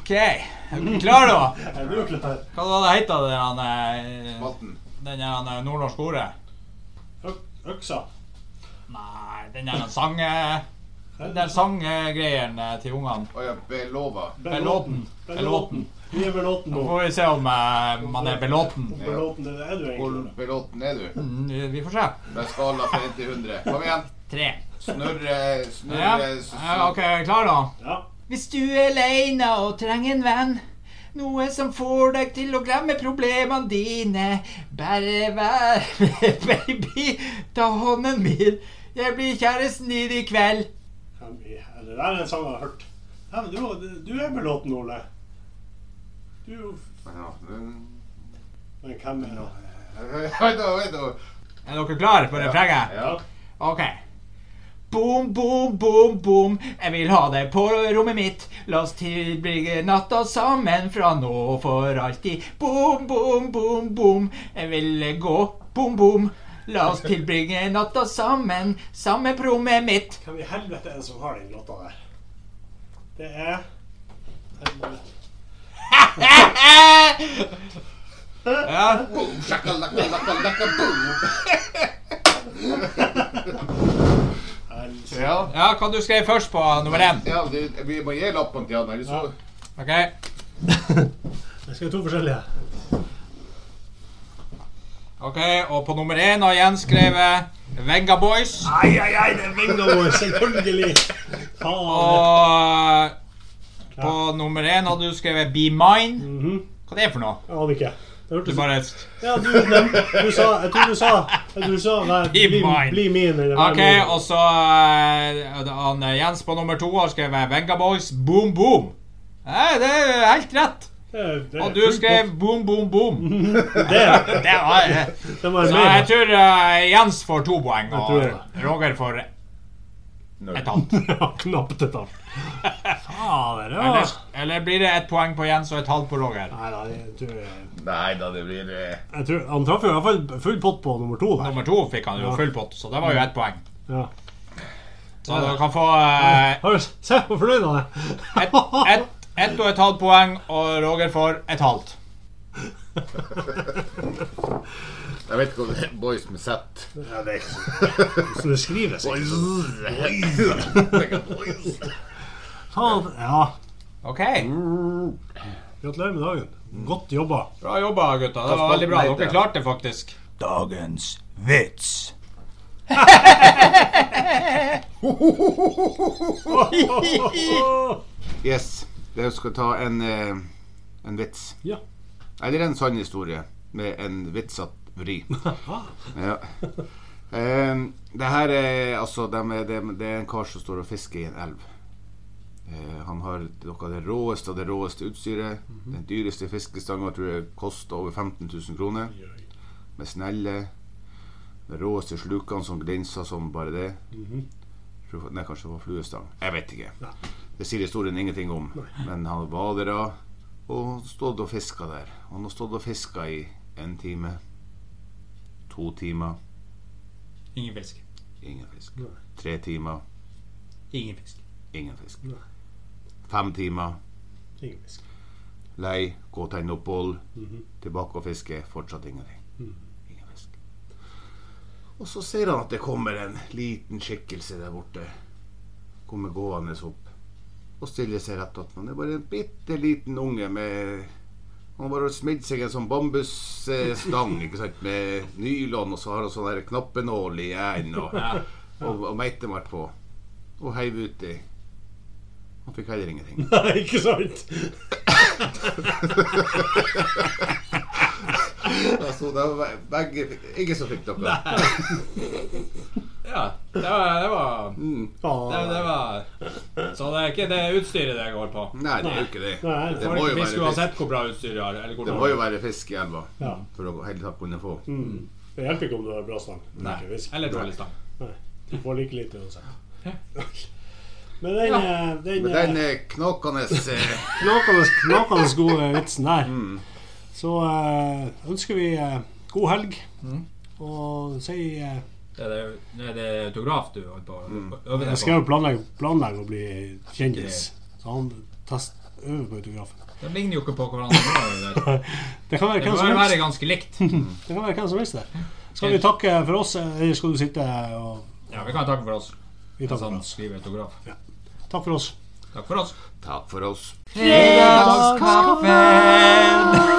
[SPEAKER 2] OK. Er dere klare, da?
[SPEAKER 1] Er du klar?
[SPEAKER 2] Hva var det heter det han, eh,
[SPEAKER 3] Spalten.
[SPEAKER 2] den her, eh, nordnorske ordet?
[SPEAKER 1] Øk- Øksa.
[SPEAKER 2] Nei, den der sang... eh, Den der sanggreien eh, til ungene.
[SPEAKER 3] Å ja, Belova.
[SPEAKER 2] Belåten. Belåten.
[SPEAKER 1] Vi er belåten
[SPEAKER 2] Så
[SPEAKER 1] nå.
[SPEAKER 2] får vi se om eh, man er belåten.
[SPEAKER 1] Belåten det er du
[SPEAKER 3] Hvor
[SPEAKER 1] egentlig.
[SPEAKER 3] belåten er du?
[SPEAKER 2] Mm, Vi får se.
[SPEAKER 3] Med skala fra 1 til 100. Kom igjen.
[SPEAKER 2] Tre.
[SPEAKER 3] Snurre,
[SPEAKER 2] Ja,
[SPEAKER 3] snurre s-
[SPEAKER 2] ja, OK, klar, da?
[SPEAKER 1] Ja.
[SPEAKER 6] Hvis du er aleine og trenger en venn, noe som får deg til å glemme problemene dine, bare vær *laughs* med, baby, ta hånden min, jeg blir kjæresten din i kveld.
[SPEAKER 1] Kan vi- er Det der er en sang jeg har hørt. Ja, men du, du er belåten, Ole. Du er jo f-
[SPEAKER 3] Ja, men-
[SPEAKER 1] Men hvem er det?
[SPEAKER 3] Vent nå, vent nå.
[SPEAKER 2] Er dere klare for refrenget?
[SPEAKER 3] Ja.
[SPEAKER 2] OK. Boom, boom, boom, boom. Jeg vil ha deg på rommet mitt. La oss tilbringe natta sammen fra nå og for alltid. Boom, boom, boom, boom. Jeg vil gå boom, boom. La oss tilbringe natta sammen, samme på rommet mitt.
[SPEAKER 1] Hvem i helvete er det som har den låta der? Det er Helvete.
[SPEAKER 2] Eh!
[SPEAKER 3] *laughs*
[SPEAKER 2] Ja,
[SPEAKER 3] Boom, shakalaka, laka, laka, boom.
[SPEAKER 1] Helse-
[SPEAKER 3] Ja.
[SPEAKER 2] ja hva du skrev først på nummer én?
[SPEAKER 3] Ja, du, vi må gi lappen til han, ellers så
[SPEAKER 2] OK.
[SPEAKER 1] Jeg skal ha to forskjellige.
[SPEAKER 2] ok, Og på nummer én har Jens skrevet Venga Boys.
[SPEAKER 1] Ai, ai, ai, det er Viggo, selvfølgelig! Faen.
[SPEAKER 2] Og på nummer én hadde du skrevet Be Mine.
[SPEAKER 1] Mhm.
[SPEAKER 2] Hva det er for noe?
[SPEAKER 1] Jeg aner ikke. Det
[SPEAKER 2] Du
[SPEAKER 1] hørtes
[SPEAKER 2] bare
[SPEAKER 1] Ja, du, nevnte- du sa Jeg tror du sa Jeg tror du sa nei,
[SPEAKER 2] Be
[SPEAKER 1] bli,
[SPEAKER 2] mine.
[SPEAKER 1] bli min. Eller, vær
[SPEAKER 2] OK,
[SPEAKER 1] min.
[SPEAKER 2] og så eh, han, eh, Jens på nummer to har skrevet Venga Boys Boom Boom. Nei, det er helt rett.
[SPEAKER 1] Det, det,
[SPEAKER 2] Og du skrev boom, boom, boom.
[SPEAKER 1] *laughs* det,
[SPEAKER 2] Det var
[SPEAKER 1] det var
[SPEAKER 2] Så jeg
[SPEAKER 1] mer.
[SPEAKER 2] tror eh, Jens får to poeng,
[SPEAKER 1] tror
[SPEAKER 2] og
[SPEAKER 1] det.
[SPEAKER 2] Roger får et halvt.
[SPEAKER 1] *laughs* Ja, Knapt et halvt. Fader,
[SPEAKER 3] Ah.
[SPEAKER 1] ja.
[SPEAKER 2] Eller, eller blir det ett poeng på Jens og et halvt på Roger?
[SPEAKER 1] Nei da, jeg tror, jeg
[SPEAKER 3] Nei da, det blir eh,
[SPEAKER 1] tror Han traff jo i hvert fall full pott på nummer to der.
[SPEAKER 2] Nummer to fikk han jo full pott, så det var jo ett poeng.
[SPEAKER 1] Ja.
[SPEAKER 2] Så dere kan få eh,
[SPEAKER 1] Har du s- Se hvor fornøyd han er!
[SPEAKER 2] ett ett- ett og et halvt poeng, og Roger får et halvt.
[SPEAKER 3] Jeg vet ikke om det er boys med Z.
[SPEAKER 1] Ja, det er ikke så *laughs* Så det skrives ikke sånn.
[SPEAKER 3] Boys.
[SPEAKER 1] Faen, Ja.
[SPEAKER 2] OK.
[SPEAKER 3] Mm.
[SPEAKER 1] Gratulerer med dagen. Godt jobba.
[SPEAKER 2] Bra jobba, gutta. Det var veldig bra. Dere klarte det faktisk.
[SPEAKER 7] Dagens vits.
[SPEAKER 3] Yes. Jeg skal ta en, eh, en vits.
[SPEAKER 1] Ja.
[SPEAKER 3] Eller en sann historie med en vitsatt vri. ja. Em, det her er altså dem er- dem- Det er en kar som står og fisker i en elv. Eh, han har noe av det råeste av det råeste utstyret. Den dyreste fiskestanga tror jeg koster over 15 000 kroner. Med snelle, de råeste slukene som glinser som bare det. Tror- Nei, kanskje det var fluestang. Jeg vet ikke. Det sier historien ingenting om. Men han var der da, og stått og fiska der. Han har stått og fiska i en time, to timer,
[SPEAKER 2] Ingen fisk.
[SPEAKER 3] ingen fisk. Tre timer,
[SPEAKER 2] Ingen fisk.
[SPEAKER 3] ingen fisk.
[SPEAKER 1] Nei.
[SPEAKER 3] Fem timer,
[SPEAKER 1] Ingen fisk.
[SPEAKER 3] lei, gå og tenne opp bål, tilbake og fiske, fortsatt ingenting. Ingen fisk. Og så ser han at det kommer en liten skikkelse der borte. Kommer gående opp og stiller seg rett opp. Men det er bare en bitte liten unge med Han har bare smidd seg en sånn bambusstang ikke sant, med nylon, og så har han sånn her knappenål i hjernen og, og, og meitemark på. Og heiv uti. Han fikk heller ingenting.
[SPEAKER 1] Nei, ikke sant?
[SPEAKER 3] Altså, det var begge, ingen som fikk noe.
[SPEAKER 2] Ja, det var, det var,
[SPEAKER 3] Mm.
[SPEAKER 2] det,
[SPEAKER 1] Faen.
[SPEAKER 2] det var Så det er ikke det utstyret det går på.
[SPEAKER 3] Nei, det er jo ikke det.
[SPEAKER 1] Nei,
[SPEAKER 3] Det
[SPEAKER 2] Folk
[SPEAKER 3] må jo
[SPEAKER 2] fisk
[SPEAKER 3] være fisk,
[SPEAKER 2] uansett hvor bra utstyr de har. Eller hvor
[SPEAKER 3] det må jo være fisk i elva
[SPEAKER 1] Ja.
[SPEAKER 3] for å hele tatt kunne få.
[SPEAKER 1] Det hjelper ikke om du har bra stang.
[SPEAKER 2] Nei.
[SPEAKER 1] Ikke fisk.
[SPEAKER 2] Eller dårlig stang.
[SPEAKER 1] Nei. Du får like lite uansett. *laughs* Men den, eh, den,
[SPEAKER 3] Men
[SPEAKER 1] eh,
[SPEAKER 3] den er knakende eh,
[SPEAKER 1] *laughs* knakende, knakende gode vitsen der. Så eh, ønsker vi eh, god helg. Og si eh,
[SPEAKER 2] Det er, det er det autograf du holder på
[SPEAKER 3] Mm.
[SPEAKER 2] å øve
[SPEAKER 1] Jeg
[SPEAKER 2] deg
[SPEAKER 1] skal
[SPEAKER 2] på.
[SPEAKER 1] jo planlegge, planlegge å bli kjendis. Så han test, øver på autografen.
[SPEAKER 2] De ligner jo ikke på hverandre.
[SPEAKER 1] Det kan være
[SPEAKER 2] Det
[SPEAKER 1] hvem
[SPEAKER 2] bør
[SPEAKER 1] som
[SPEAKER 2] være
[SPEAKER 1] helst.
[SPEAKER 2] ganske
[SPEAKER 1] *laughs*
[SPEAKER 2] likt.
[SPEAKER 1] Det kan være hvem som helst det. Skal vi takke for oss, eller skal du sitte og
[SPEAKER 2] Ja, vi kan takke for oss. Sånn
[SPEAKER 1] vi
[SPEAKER 2] Hvis
[SPEAKER 1] takker for
[SPEAKER 2] han
[SPEAKER 1] oss?
[SPEAKER 2] skriver autograf.
[SPEAKER 1] Takk for oss.
[SPEAKER 2] Takk for oss.
[SPEAKER 3] Takk for oss.
[SPEAKER 6] Fredagskaffen!